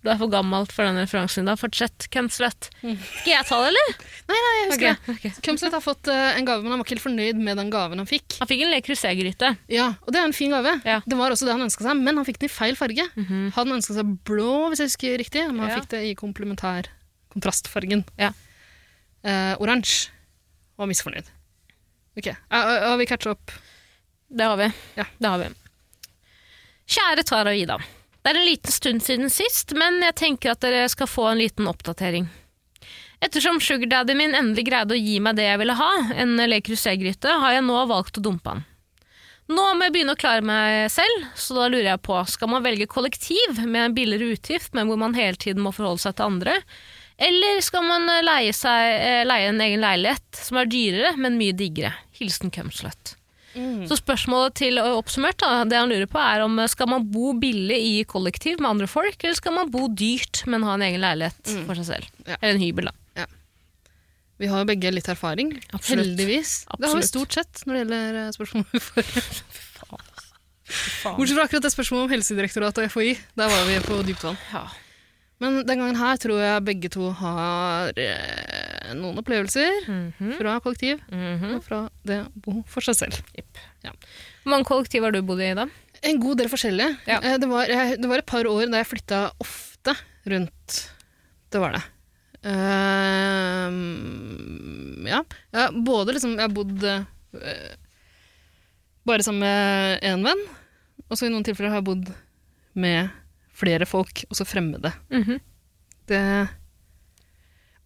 Speaker 2: Du er for gammelt for den referansen da. Fortsett, Kemslet. Skal jeg ta det, eller?
Speaker 3: Nei, jeg husker det.
Speaker 2: Mm. Ok, ok.
Speaker 3: Cumslut har fått eh, en gave, men han var ikke helt fornøyd med den gaven han fikk.
Speaker 2: Han fikk en Le Creuset-gryte.
Speaker 3: Ja, Og det er en fin gave.
Speaker 2: Ja.
Speaker 3: Det var også det han ønska seg, men han fikk den i feil farge. Han ønska seg blå, hvis jeg husker riktig, men han
Speaker 2: Ja.
Speaker 3: fikk det i komplementær kontrastfargen.
Speaker 2: Ja.
Speaker 3: Eh, Oransje. Og var misfornøyd. Ok, eh, eh, Har vi catcha opp?
Speaker 2: Det har vi.
Speaker 3: Ja.
Speaker 2: Det har vi. Kjære Tara og Ida. Det er en liten stund siden sist, men jeg tenker at dere skal få en liten oppdatering. Ettersom sugardaddy min endelig greide å gi meg det jeg ville ha, en Le Creuset-gryte, har jeg nå valgt å dumpe han. Nå må jeg begynne å klare meg selv, så da lurer jeg på, skal man velge kollektiv med en billigere utgift, men hvor man hele tiden må forholde seg til andre? Eller skal man eh, leie, seg, eh, leie en egen leilighet, som er dyrere, men mye diggere? Hilsen Cumslut. Mm. Så spørsmålet til og oppsummert, da, det han lurer på er om eh, skal man bo billig i kollektiv med andre folk, eller skal man bo dyrt, men ha en egen leilighet for seg selv?
Speaker 3: Ja.
Speaker 2: Eller en hybel, da.
Speaker 3: Vi har jo begge litt erfaring.
Speaker 2: Absolutt.
Speaker 3: Heldigvis. Det har vi
Speaker 2: Absolutt.
Speaker 3: stort sett når det gjelder eh, spørsmål for Bortsett fra akkurat det spørsmålet om Helsedirektoratet og FHI. Der var vi på dypt vann.
Speaker 2: Ja.
Speaker 3: Men den gangen her tror jeg begge to har eh, noen opplevelser
Speaker 2: Mhm.
Speaker 3: fra kollektiv og fra det å bo for seg selv.
Speaker 2: Hvor mange kollektiv har du bodd i, da?
Speaker 3: En god del forskjellige.
Speaker 2: Ja.
Speaker 3: Eh, Det, var, jeg- det var et par år da jeg flytta ofte rundt. Det var det. Ehm, ja. Jeg har både liksom Jeg har bodd eh, bare sammen med én venn, og så i noen tilfeller har jeg bodd med flere folk, også fremmede.
Speaker 2: Mhm.
Speaker 3: Det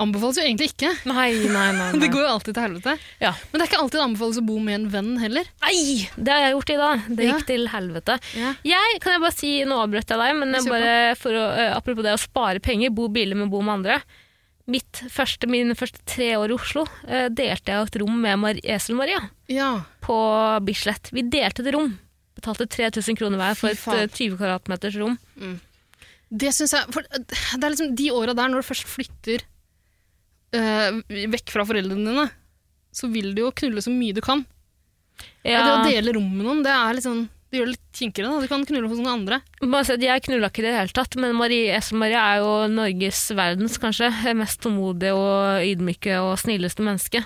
Speaker 3: anbefales jo egentlig ikke.
Speaker 2: Nei, nei, nei.
Speaker 3: Det går jo alltid til helvete.
Speaker 2: Ja.
Speaker 3: Men det er ikke alltid det anbefales å bo med en venn heller.
Speaker 2: Nei! Det har jeg gjort i dag. Det
Speaker 3: Ja.
Speaker 2: gikk til helvete. Jeg, kan jeg bare si, Nå avbrøt jeg deg, men jeg
Speaker 3: Kjør på.
Speaker 2: bare, for å, eh, apropos det å spare penger, bo billig, men bo med andre. Mitt første, mine første tre år i Oslo eh, delte jeg et rom med Mar Esel-Maria
Speaker 3: ja.
Speaker 2: på Bislett. Vi delte et rom. Betalte 3000 kroner hver for
Speaker 3: Fy
Speaker 2: et
Speaker 3: faen.
Speaker 2: eh, 20 kvadratmeters rom.
Speaker 3: Det syns jeg for Det er liksom de åra der, når du først flytter eh, vekk fra foreldrene dine, så vil du jo knulle så mye du kan. Det å
Speaker 2: Ja,
Speaker 3: dele rom med noen, det er litt sånn det gjør det litt kinkere. da. Du kan knulle hos noen andre.
Speaker 2: bare si at jeg knulla ikke i det hele tatt, men Marie Esel-Maria er jo Norges, verdens kanskje, mest tålmodige og ydmyke og snilleste menneske.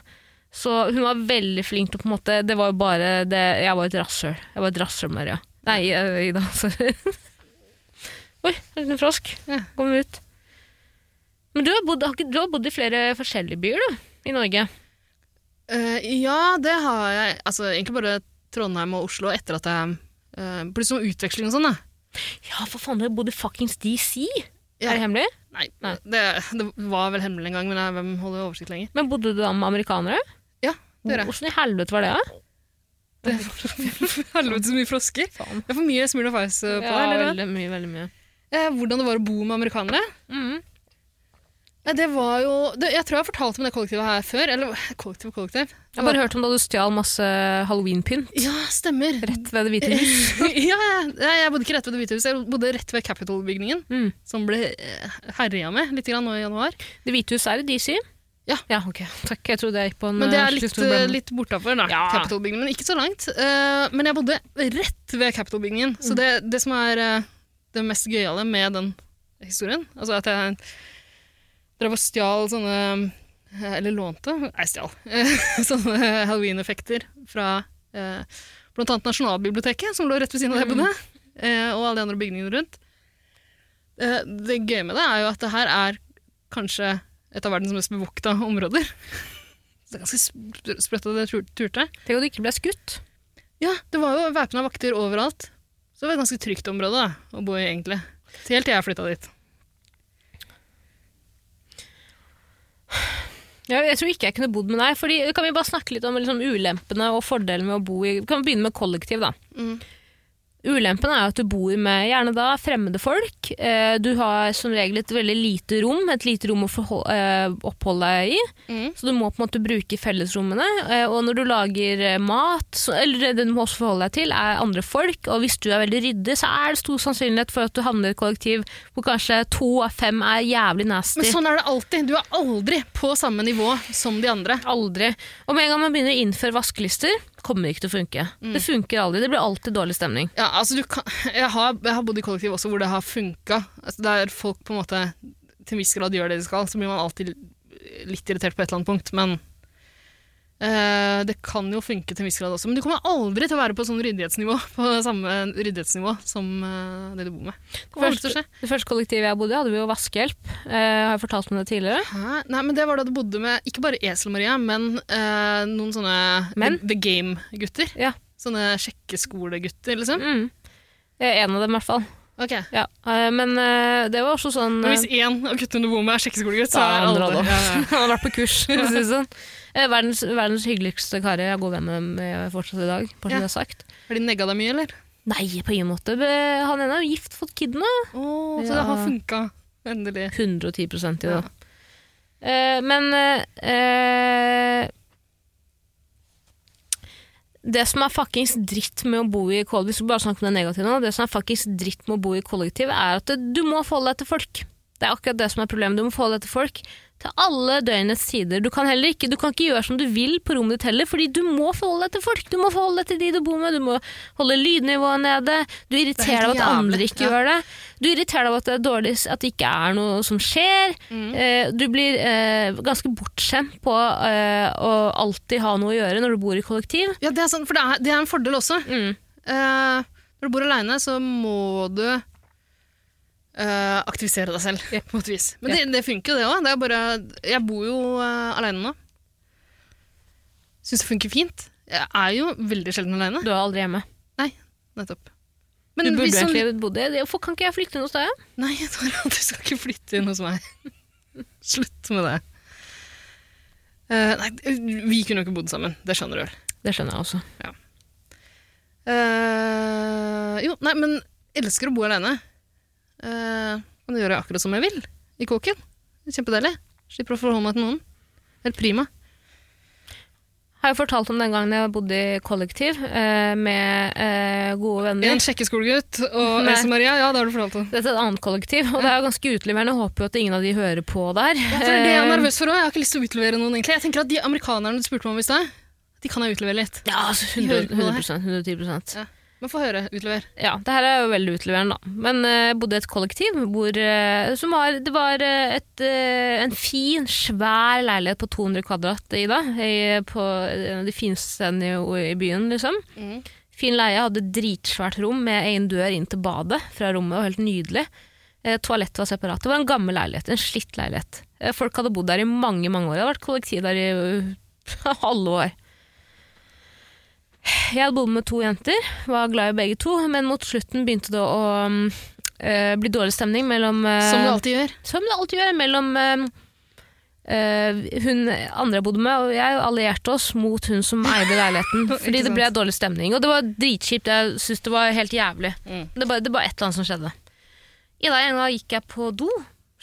Speaker 2: Så hun var veldig flink til å på en måte Det var jo bare det Jeg var et rasshøl. Jeg var et rasshøl, Maria. Nei, eh, Ida, sorry. Oi, en liten frosk.
Speaker 3: Ja.
Speaker 2: Kom ut. Men du har, bodd, har ikke, du har bodd i flere forskjellige byer, du, i Norge.
Speaker 3: Eh, ja, det har jeg. Altså, egentlig bare Trondheim og Oslo etter at jeg uh, Plutselig noe utveksling og sånn, da.
Speaker 2: Ja, for faen, dere bodde i fuckings DC!
Speaker 3: Ja.
Speaker 2: Er det hemmelig?
Speaker 3: Nei,
Speaker 2: Nei.
Speaker 3: Det, det var vel hemmelig en gang, men jeg, hvem holder oversikt lenger?
Speaker 2: Men bodde du da med amerikanere?
Speaker 3: Ja, det gjør jeg.
Speaker 2: Hvordan i helvete var det? da?
Speaker 3: Det var helvete så mye frosker.
Speaker 2: Faen.
Speaker 3: Det er for mye Smil og Fais på deg. eller hva?
Speaker 2: mye, veldig mye. Mm.
Speaker 3: Eh, hvordan det var å bo med amerikanere. Nei, det var jo det, Jeg tror jeg har fortalt om det kollektivet her før. Eller kollektiv, kollektiv.
Speaker 2: Jeg har bare hørt om da du stjal masse halloweenpynt
Speaker 3: Ja, stemmer.
Speaker 2: rett ved Det hvite hus.
Speaker 3: ja, ja, jeg bodde ikke rett ved Det hvite huset, jeg bodde rett ved Capitol-bygningen.
Speaker 2: Mm.
Speaker 3: Som ble eh, herja med litt grann nå i januar.
Speaker 2: Det hvite hus er i DC?
Speaker 3: Ja.
Speaker 2: ok. Takk, jeg trodde jeg gikk på en
Speaker 3: Men det
Speaker 2: eh,
Speaker 3: er litt,
Speaker 2: stor blend.
Speaker 3: eh, litt bortafor, da.
Speaker 2: Ja.
Speaker 3: Capitol-bygningen, men ikke så langt. Eh, men jeg bodde rett ved Capitol-bygningen, så
Speaker 2: Mm.
Speaker 3: det, det som er eh, det mest gøyale med den historien, altså at jeg drev og stjal sånne eh, Eller lånte Nei, stjal. eh, sånne halloween-effekter fra eh, blant annet Nasjonalbiblioteket, som lå rett ved siden av det jeg bodde,
Speaker 2: Mm.
Speaker 3: eh, og alle de andre bygningene rundt. Eh, det gøye med det er jo at det her er kanskje et av verdens mest bevokta områder. Så det er ganske sp- sprøtt at jeg tur- turte.
Speaker 2: Tenk at du ikke ble skutt.
Speaker 3: Ja, det var jo væpna vakter overalt. Så det var et ganske trygt område da, å bo i, egentlig. Helt til jeg flytta dit.
Speaker 2: Jeg, jeg tror ikke jeg kunne bodd med deg. Fordi, kan vi bare snakke litt om liksom, ulempene og fordelene med å bo i Kan vi begynne med kollektiv, da.
Speaker 3: Mm.
Speaker 2: Ulempen er jo at du bor med gjerne da fremmede folk. Eh, du har som regel et veldig lite rom, et lite rom å forhold, eh, oppholde deg i.
Speaker 3: Mm.
Speaker 2: Så du må på en måte bruke fellesrommene. eh, Og når du lager eh, mat, så, eller det du må også forholde deg til, er andre folk. Og hvis du er veldig ryddig, så er det stor sannsynlighet for at du havner i et kollektiv hvor kanskje to av fem er jævlig nasty.
Speaker 3: Men sånn er det alltid. Du er aldri på samme nivå som de andre.
Speaker 2: Aldri. Og med en gang man begynner å innføre vaskelister, kommer det ikke til å funke.
Speaker 3: Mm.
Speaker 2: Det funker aldri. Det blir alltid dårlig stemning.
Speaker 3: Ja, altså du kan, jeg, har, jeg har bodd i kollektiv også hvor det har funka. Altså, der folk på en måte til en viss grad gjør det de skal, så blir man alltid litt irritert på et eller annet punkt. Men eh, det kan jo funke til en viss grad også. Men du kommer aldri til å være på sånn ryddighetsnivå På samme ryddighetsnivå som eh, det du bor med. Det kommer aldri til å skje.
Speaker 2: det første kollektivet jeg bodde i, hadde vi jo vaskehjelp. Eh, har jeg fortalt om det tidligere?
Speaker 3: Hæ? Nei, men Det var da du bodde med ikke bare Esel-Maria, men eh, noen sånne
Speaker 2: Men?
Speaker 3: The, the Game-gutter.
Speaker 2: Ja.
Speaker 3: Sånne sjekkeskolegutter, liksom.
Speaker 2: Mm. Eh, en av dem, i hvert fall.
Speaker 3: Ok.
Speaker 2: Ja. Eh, men eh, det var også sånn
Speaker 3: Men
Speaker 2: eh,
Speaker 3: hvis én av guttene du bor med, er sjekkeskolegutt,
Speaker 2: Da
Speaker 3: så
Speaker 2: er
Speaker 3: er
Speaker 2: andre
Speaker 3: alle
Speaker 2: da.
Speaker 3: Ja, ja.
Speaker 2: Han har vært på kurs. for å si det sånn. Eh, verdens, verdens hyggeligste karer. Jeg er god venn med dem fortsatt i dag. Bare
Speaker 3: Ja.
Speaker 2: som jeg har sagt.
Speaker 3: Har de negga deg mye, eller?
Speaker 2: Nei, på ingen måte. Han ene er jo gift, fått kid nå.
Speaker 3: Oh, Så
Speaker 2: Ja.
Speaker 3: det har funka. Endelig.
Speaker 2: 110 i det.
Speaker 3: Ja.
Speaker 2: Eh, men eh, eh, Det som er fuckings dritt med å bo i kollektiv, hvis vi bare snakker om det negative nå, det som er fuckings dritt med å bo i kollektiv, er at du må forholde deg til folk. Det er akkurat det som er problemet. Du må forholde deg til folk til alle døgnets tider. Du kan heller ikke, du kan ikke gjøre som du vil på rommet ditt heller, fordi du må forholde deg til folk. Du må forholde deg til de du bor med, du må holde lydnivået nede. Du irriterer deg
Speaker 3: helt
Speaker 2: over at andre
Speaker 3: jævlig.
Speaker 2: ikke
Speaker 3: Ja.
Speaker 2: gjør det. Du irriterer deg over at det er dårlig, at det ikke er noe som skjer.
Speaker 3: Mm.
Speaker 2: Eh, Du blir eh, ganske bortskjemt på eh, å alltid ha noe å gjøre når du bor i kollektiv.
Speaker 3: Ja, det er sånn, for det er, det er en fordel også.
Speaker 2: Mm,
Speaker 3: Eh, når du bor aleine, så må du eh, aktivisere deg selv,
Speaker 2: Ja.
Speaker 3: på et vis. Men det, det funker jo, det òg. Det er bare Jeg bor jo uh, aleine nå. Syns det funker fint. Jeg er jo veldig sjelden aleine.
Speaker 2: Du er aldri hjemme.
Speaker 3: Nei, nettopp.
Speaker 2: Du
Speaker 3: Men
Speaker 2: burde
Speaker 3: hvis sånn-
Speaker 2: egentlig bodd i Hvorfor kan ikke jeg flytte noe sted?
Speaker 3: Nei, Tara, du skal ikke flytte inn hos meg. Slutt med det. Eh, nei, vi kunne jo ikke bodd sammen. Det skjønner du vel.
Speaker 2: Det skjønner jeg også.
Speaker 3: Eh, jo, nei, men elsker å bo alene. Uh, kan gjøre akkurat som jeg vil i kåken. Det er Kjempedeilig. Slipper å forholde meg til noen. Helt prima.
Speaker 2: Har jeg fortalt om den gangen jeg bodde i kollektiv eh, med eh, gode venner?
Speaker 3: En sjekkeskolegutt og
Speaker 2: Nei.
Speaker 3: Else-Maria. Ja, det har du fortalt om.
Speaker 2: Dette er et annet kollektiv, og det er jo ganske utleverende. Jeg håper jo at ingen av de hører på der.
Speaker 3: Ja, for det er det jeg er nervøs for òg. Jeg har ikke lyst til å utlevere noen, egentlig. Jeg tenker at De amerikanerne du spurte meg om i stad, de kan jeg utlevere litt.
Speaker 2: Ja, altså
Speaker 3: De hører
Speaker 2: 100,
Speaker 3: på det her.
Speaker 2: 100 110
Speaker 3: Men få høre. Utlever.
Speaker 2: ja, det her er jo veldig utleverende, da. Men eh, jeg bodde i et kollektiv hvor, eh, som var Det var eh, et, eh, en fin, svær leilighet på 200 kvadrat, Ida. I, eh, på en av de fineste stedene i, i byen, liksom.
Speaker 3: Mm.
Speaker 2: Fin leie, hadde dritsvært rom med egen dør inn til badet fra rommet. og Helt nydelig. Eh, Toalettet var separat. Det var en gammel leilighet, en slitt leilighet. Eh, Folk hadde bodd der i mange, mange år. Det hadde vært kollektiv der i øh, alle år. Jeg hadde bodd med to jenter, var glad i begge to, men mot slutten begynte det å mm, eh, bli dårlig stemning mellom eh,
Speaker 3: Som du alltid gjør.
Speaker 2: som det alltid gjør mellom eh, eh, hun andre jeg bodde med og jeg allierte oss mot hun som eide leiligheten. fordi det ble
Speaker 3: sant.
Speaker 2: dårlig stemning. Og det var dritkjipt. Jeg syntes det var helt jævlig.
Speaker 3: Mm.
Speaker 2: Det var det var et eller annet som skjedde. I dag en gang gikk jeg på do,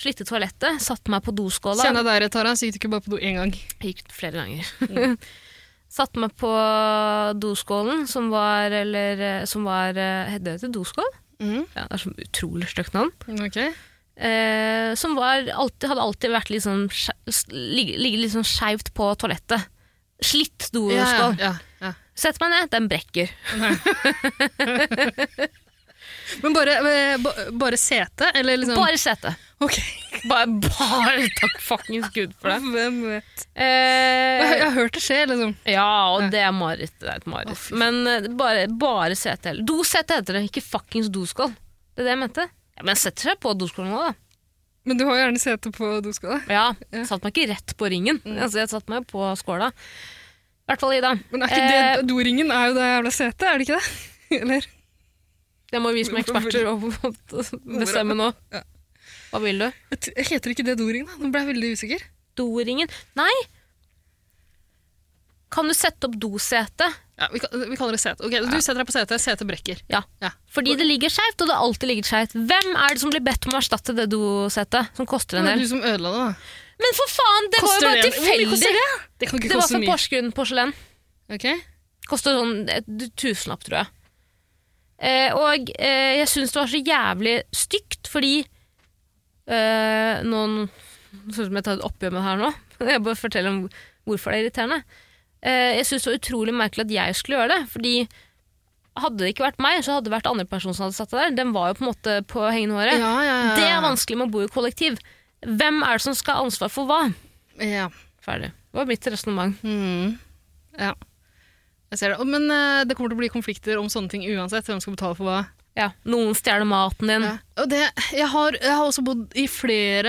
Speaker 2: Slitte toalettet, satte meg på doskåla.
Speaker 3: Kjenn deg der, Tara, så gikk du ikke bare på do én gang.
Speaker 2: Jeg gikk flere ganger.
Speaker 3: Mm.
Speaker 2: Satt meg på doskålen, som var, eller, eh, som var eh, Heter det til doskål?
Speaker 3: Mm.
Speaker 2: Ja, det er så utrolig stygt navn.
Speaker 3: Ok.
Speaker 2: Eh, som var, alltid, hadde alltid vært litt sånn skje- s- ligge- ligget litt sånn skeivt på toalettet. Slitt doskål.
Speaker 3: Ja, ja, ja, ja.
Speaker 2: Sett meg ned, den brekker.
Speaker 3: Men bare, eh, ba- bare sete, eller liksom
Speaker 2: Bare sete.
Speaker 3: Ok.
Speaker 2: Bare, Sånn. bare takk fuckings gud for det.
Speaker 3: Hvem vet? Jeg,
Speaker 2: Eh,
Speaker 3: jeg har hørt det skje, liksom.
Speaker 2: ja, og det er mareritt. Det er et mareritt. Men eh, bare, bare sete. eller- Dosete heter det, ikke fuckings doskål. Det er det jeg mente. Ja, men jeg setter seg på doskålen nå, da.
Speaker 3: Men du har jo gjerne sete på doskåla.
Speaker 2: Ja, jeg satte meg ikke rett på ringen. Altså, jeg satte meg på skåla. I hvert fall Ida.
Speaker 3: Men er ikke
Speaker 2: Eh,
Speaker 3: det doringen er jo det jævla setet, er det ikke det? Eller?
Speaker 2: det må vi som eksperter bestemme nå. Hva vil du?
Speaker 3: Jeg t- jeg Heter ikke det doringen, da? Nå ble jeg veldig usikker.
Speaker 2: Doringen Nei! Kan du sette opp dosete?
Speaker 3: Ja, Vi, kan- vi kaller det sete. Ok, Du setter deg på setet, setet brekker.
Speaker 2: Ja.
Speaker 3: Ja.
Speaker 2: Fordi det ligger skeivt, og det har alltid ligget skeivt. Hvem er det som blir bedt om å erstatte det dosetet, som koster en
Speaker 3: Det
Speaker 2: del?
Speaker 3: var du som ødela det, da.
Speaker 2: Men for faen, det var jo
Speaker 3: Koster
Speaker 2: bare
Speaker 3: det en- Hvor mye koster
Speaker 2: tilfeldig!
Speaker 3: Det kan ikke
Speaker 2: Det var
Speaker 3: koste
Speaker 2: fra
Speaker 3: mye.
Speaker 2: Porsgrunn porselen.
Speaker 3: Ok?
Speaker 2: Koster sånn et tusenlapp, tror jeg. Eh, og eh, jeg syns det var så jævlig stygt, fordi eh, Noen Det ser ut som jeg tar et oppgjør med det her nå. Jeg bare forteller om hvorfor det er irriterende. Eh, jeg syns det var utrolig merkelig at jeg skulle gjøre det. Fordi hadde det ikke vært meg, så hadde det vært andre person som hadde satt det der. Den var jo på en måte på hengende håret.
Speaker 3: Ja, ja, ja.
Speaker 2: Det er vanskelig med å bo i kollektiv. Hvem er det som skal ha ansvar for hva?
Speaker 3: Ja.
Speaker 2: Ferdig. Det var mitt resonnement.
Speaker 3: Mm. ja. Jeg ser det. Å, Men eh, det kommer til å bli konflikter om sånne ting uansett. Hvem skal betale for hva?
Speaker 2: Ja, noen stjeler maten din.
Speaker 3: Ja. Og det, jeg, har, jeg har også bodd i flere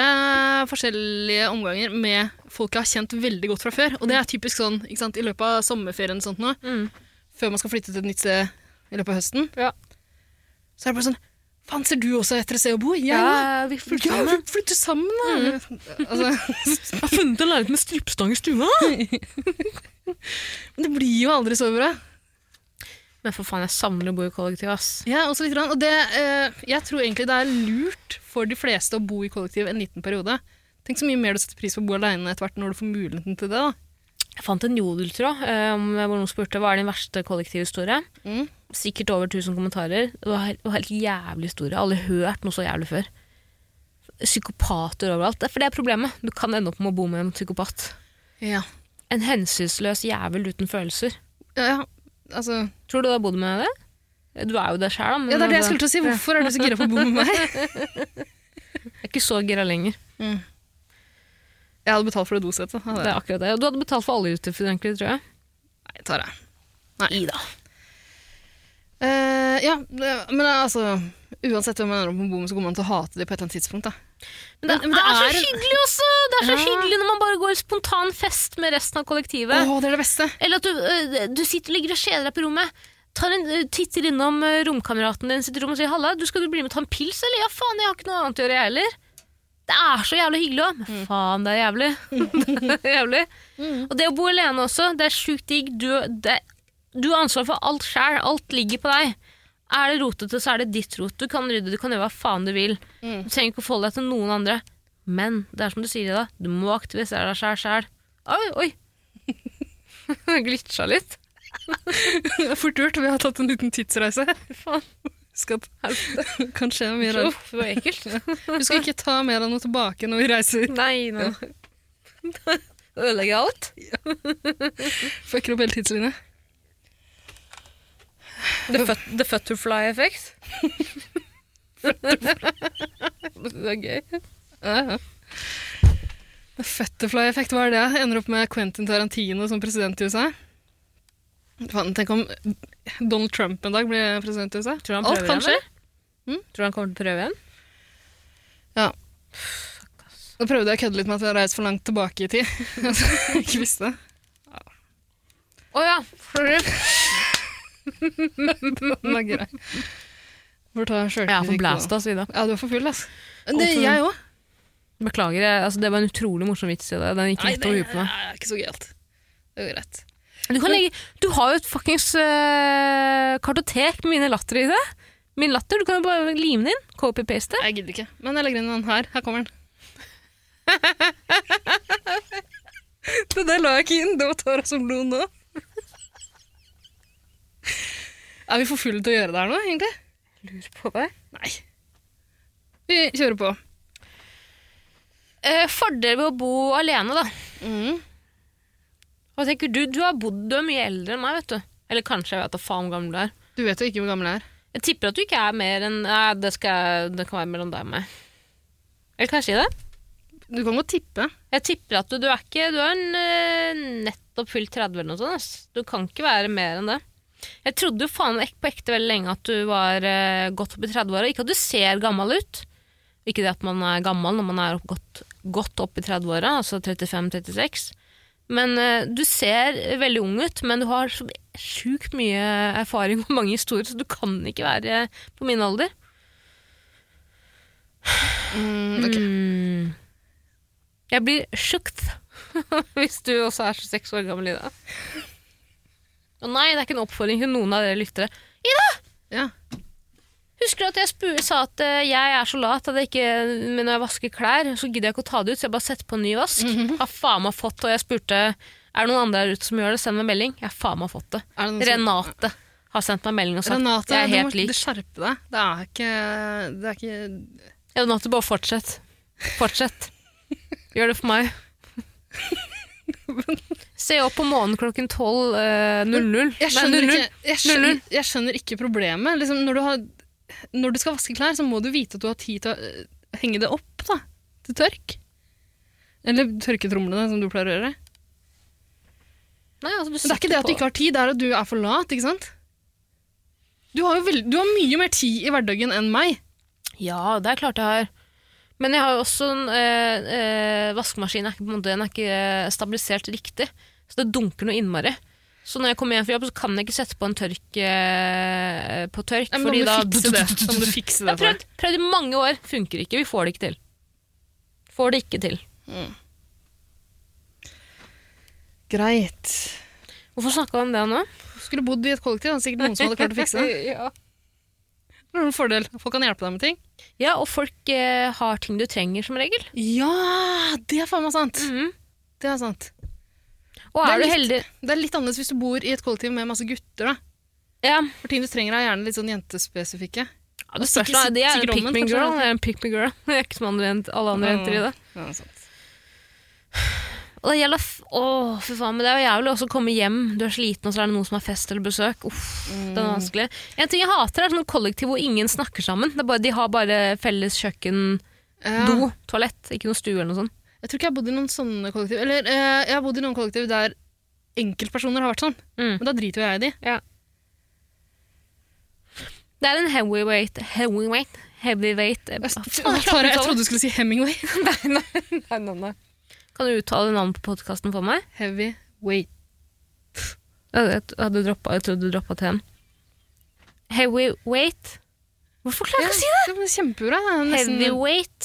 Speaker 3: forskjellige omganger med folk jeg har kjent veldig godt fra før. Og det er typisk sånn ikke sant, i løpet av sommerferien og sånt nå,
Speaker 2: Mm.
Speaker 3: før man skal flytte til et nytt sted i løpet av høsten.
Speaker 2: Ja.
Speaker 3: Så er det bare sånn Faen, ser du også etter et sted å bo? Jeg, ja,
Speaker 2: Ja, Mm. vi
Speaker 3: vi flytter sammen, da! Altså,
Speaker 2: Jeg har funnet en leilighet med strippestang i stua.
Speaker 3: det blir jo aldri så bra.
Speaker 2: Men for faen, jeg savner å bo i kollektiv, ass.
Speaker 3: Ja, også litt grann. Og det, eh, jeg tror egentlig det er lurt for de fleste å bo i kollektiv en liten periode. Tenk så mye mer du setter pris på å bo aleine etter hvert når du får muligheten til det. da.
Speaker 2: Jeg fant en jodeltråd eh, om hvor noen spurte hva er din verste kollektivhistorie.
Speaker 3: Mm.
Speaker 2: Sikkert over 1000 kommentarer. Det var, helt- det var helt jævlig historie. Jeg har aldri hørt noe så jævlig før. Psykopater overalt. Det er- For det er problemet. Du kan ende opp med å bo med en psykopat.
Speaker 3: Ja.
Speaker 2: En hensynsløs jævel uten følelser.
Speaker 3: ja, altså,
Speaker 2: Tror du du har bodd med det? Du er jo det sjæl, da. men
Speaker 3: ja, det er det jeg
Speaker 2: altså,
Speaker 3: skulle til å si. Hvorfor er du så gira på å bo med meg?
Speaker 2: altså, jeg er ikke så gira lenger.
Speaker 3: Jeg hadde betalt for det dosetet. hadde
Speaker 2: Det
Speaker 3: jeg.
Speaker 2: er akkurat det. Og du hadde betalt for alle utgifter, egentlig, tror jeg.
Speaker 3: Nei, tar jeg.
Speaker 2: Ida.
Speaker 3: Eh, ja, det- men altså Uansett hvem man ender opp med å bo med, så kommer man til å hate det på et eller annet tidspunkt. da.
Speaker 2: Men det,
Speaker 3: Men- men det
Speaker 2: er, så
Speaker 3: er-
Speaker 2: hyggelig også! Det er så
Speaker 3: Ja.
Speaker 2: hyggelig når man bare går i spontan fest med resten av kollektivet.
Speaker 3: Åh, det er det beste!
Speaker 2: Eller at du, øh, du sitter og ligger og kjeder deg på rommet. Tar en, øh, titter innom øh, romkameraten din sitt rom og sier 'halla, du skal du bli med og ta en pils', eller 'ja, faen, jeg har ikke noe annet å gjøre, jeg heller'. Det er så jævlig hyggelig òg. Men faen, det er jævlig. det er jævlig. Og det å bo alene også, det er sjukt digg. Du, det, du har ansvar for alt sjæl. Alt ligger på deg. Er det rotete, så er det ditt rot. Du kan rydde, du kan gjøre hva faen du vil. Du trenger ikke å forholde deg til noen andre. Men det er som du sier, Ida, du må aktivisere deg sjæl sjæl. Oi, oi. Glitcha litt.
Speaker 3: Det er Fort gjort. Vi har tatt en liten tidsreise.
Speaker 2: Faen,
Speaker 3: Skal, kan skje mye rart.
Speaker 2: uff, det var ekkelt.
Speaker 3: Du skal ikke ta mer av noe tilbake når vi reiser.
Speaker 2: Nei, nå Ødelegger alt.
Speaker 3: Fucker opp hele tidslinja.
Speaker 2: The, fut the Futterfly effect. det er gøy.
Speaker 3: Ja, ja. Futterfly-effekt, hva er det? Ender opp med Quentin Tarantino som president i USA? Faen, tenk om Donald Trump en dag blir president i USA?
Speaker 2: Tror du han
Speaker 3: Alt
Speaker 2: prøver
Speaker 3: kan
Speaker 2: igjen,
Speaker 3: skje.
Speaker 2: eller? Hmm? Tror du han kommer til å prøve igjen?
Speaker 3: Ja. Nå prøvde jeg å kødde litt med at jeg har reist for langt tilbake i tid. Altså, jeg ikke visste det.
Speaker 2: Å ja.
Speaker 3: Den er grei. Får ta
Speaker 2: Jeg er for
Speaker 3: sjølkritikk.
Speaker 2: blæst, altså, Ida.
Speaker 3: Ja, du er for full, ass.
Speaker 2: Men det er jeg
Speaker 3: òg.
Speaker 2: Beklager, jeg, altså, det var en utrolig morsom vits i det. Den gikk
Speaker 3: Nei,
Speaker 2: rett
Speaker 3: det
Speaker 2: over
Speaker 3: er
Speaker 2: huet på meg.
Speaker 3: ikke så gøyalt. Det går greit.
Speaker 2: Du, kan legge, du har jo et fuckings eh, kartotek med mine latter i det. Min latter, du kan jo bare lime den inn. Copy-paste.
Speaker 3: Jeg gidder ikke. Men jeg legger inn den her. Her kommer den. Det der la jeg ikke inn. Det var Tara som lo nå. Er vi for fulle til å gjøre det her nå, egentlig?
Speaker 2: Lurer på det.
Speaker 3: Nei. Vi kjører på.
Speaker 2: Eh, fordel ved å bo alene, da. Mm. Hva tenker du? Du har bodd du er mye eldre enn meg, vet du. Eller kanskje, jeg vet da faen hvor gammel du er.
Speaker 3: Du vet jo ikke hvor gammel jeg er.
Speaker 2: Jeg tipper at du ikke er mer enn Nei, det, skal, jeg- det kan være mellom deg og meg. Eller kan jeg si det?
Speaker 3: Du kan godt tippe.
Speaker 2: Jeg tipper at du, du er ikke Du er en, eh, nettopp fylt 30 eller noe sånt. Ass. Du kan ikke være mer enn det. Jeg trodde jo faen ek- på ekte veldig lenge at du var eh, godt oppi 30-åra. Ikke at du ser gammel ut. Ikke det at man er gammel når man er opp, godt, godt oppi 30-åra, altså 35-36. Men eh, du ser veldig ung ut, men du har så sjukt mye erfaring og mange historier, så du kan ikke være på min alder.
Speaker 3: Mm, ok.
Speaker 2: Mm. Jeg blir sjukt hvis du også er 26 år gammel, Ida. Og nei, det er ikke en oppfordring til noen av dere lyttere.
Speaker 3: Ja.
Speaker 2: Husker du at jeg spu- sa at eh, jeg er så lat at jeg ikke, men når jeg vasker klær, så gidder jeg ikke å ta det ut, så jeg bare setter på en ny vask.
Speaker 3: Mhm.
Speaker 2: Har faen meg fått det, og jeg spurte er det noen andre der ute som gjør det, send meg melding. Jeg har faen meg fått det.
Speaker 3: Er det noen som-
Speaker 2: Renate har sendt meg melding og sagt
Speaker 3: Altså- Renate,
Speaker 2: jeg er
Speaker 3: du må
Speaker 2: helt lik.
Speaker 3: du skjerpe deg. Det er ikke Det er ikke
Speaker 2: Ja, Renate, bare fortsett. Fortsett. Gjør det for meg. Se opp på månen klokken 12.00.
Speaker 3: Jeg skjønner,
Speaker 2: Nei, 00.
Speaker 3: ikke, jeg, skjønner, jeg skjønner ikke problemet. Liksom, når, du har, når du skal vaske klær, så må du vite at du har tid til å øh, henge det opp da, til tørk. Eller tørketromlene, som du pleier å gjøre.
Speaker 2: Nei, altså, du
Speaker 3: Men det er ikke det at du ikke har tid, det er at du er for lat. ikke sant? Du har, jo veld, du har mye mer tid i hverdagen enn meg.
Speaker 2: Ja, det er klart jeg har. Men jeg har jo også en eh, eh, vaskemaskin. Er ikke, på en måte, den er ikke eh, stabilisert riktig, så det dunker noe innmari. Så når jeg kommer hjem fra jobb, så kan jeg ikke sette på en tørk eh, på tørk.
Speaker 3: Nei, men
Speaker 2: fordi
Speaker 3: da
Speaker 2: da
Speaker 3: må du fikse det. Da må du fikse
Speaker 2: Jeg
Speaker 3: det
Speaker 2: har
Speaker 3: for
Speaker 2: prøvd, prøvd i mange år. Funker ikke. Vi får det ikke til. Får det ikke til.
Speaker 3: deg. Greit.
Speaker 2: Hvorfor snakka vi om det nå?
Speaker 3: Du skulle bodd i et kollektiv. Det er sikkert noen som hadde klart å fikse det.
Speaker 2: ja.
Speaker 3: Det er en fordel. Folk kan hjelpe deg med ting.
Speaker 2: ja, og folk eh, har ting du trenger, som regel.
Speaker 3: Ja, det er faen meg sant.
Speaker 2: Mhm.
Speaker 3: Mm. Det er sant.
Speaker 2: Og er,
Speaker 3: Det er
Speaker 2: du
Speaker 3: litt-
Speaker 2: heldig
Speaker 3: Det er litt annerledes hvis du bor i et kollektiv med masse gutter. da.
Speaker 2: Ja,
Speaker 3: For ting du trenger er gjerne litt sånn jentespesifikke.
Speaker 2: ja det spørs. da.
Speaker 3: sikkert-
Speaker 2: Sånn, Det er en
Speaker 3: sikkert
Speaker 2: pick me
Speaker 3: omvendt,
Speaker 2: girl.
Speaker 3: kanskje.
Speaker 2: Det er en pick me girl. Det er ikke som andre, jent- alle andre jenter i det.
Speaker 3: Ja, sant.
Speaker 2: Og det gjelder f- Åh, fy faen, men det er jo jævlig også å komme hjem. Du er sliten, og så er det noen som har fest eller besøk. Uff, det
Speaker 3: Mm.
Speaker 2: er vanskelig. En ting jeg hater, er sånne kollektiv hvor ingen snakker sammen. Det er bare, de har bare felles kjøkken,
Speaker 3: Ja.
Speaker 2: do, toalett. Ikke noe stue eller noe sånt.
Speaker 3: Jeg tror ikke jeg har bodd i noen sånne kollektiv. Eller eh, jeg har bodd i noen kollektiv der enkeltpersoner har vært sånn.
Speaker 2: Mm.
Speaker 3: Men da driter jo jeg i de.
Speaker 2: Det er en heavyweight Heavyweight? Heavyweight eh,
Speaker 3: Jeg,
Speaker 2: faen, jeg klarer ikke å
Speaker 3: Tara, jeg
Speaker 2: uttale
Speaker 3: trodde du skulle si Hemingway.
Speaker 2: Kan du uttale navnet på podkasten for meg?
Speaker 3: Heavy weight.
Speaker 2: Jeg, hadde droppet, jeg trodde du droppa til en. Heavyweight Hvorfor klarer jeg ikke å si
Speaker 3: det? var Kjempebra. Det er
Speaker 2: det?
Speaker 3: nesten,
Speaker 2: Heavyweight.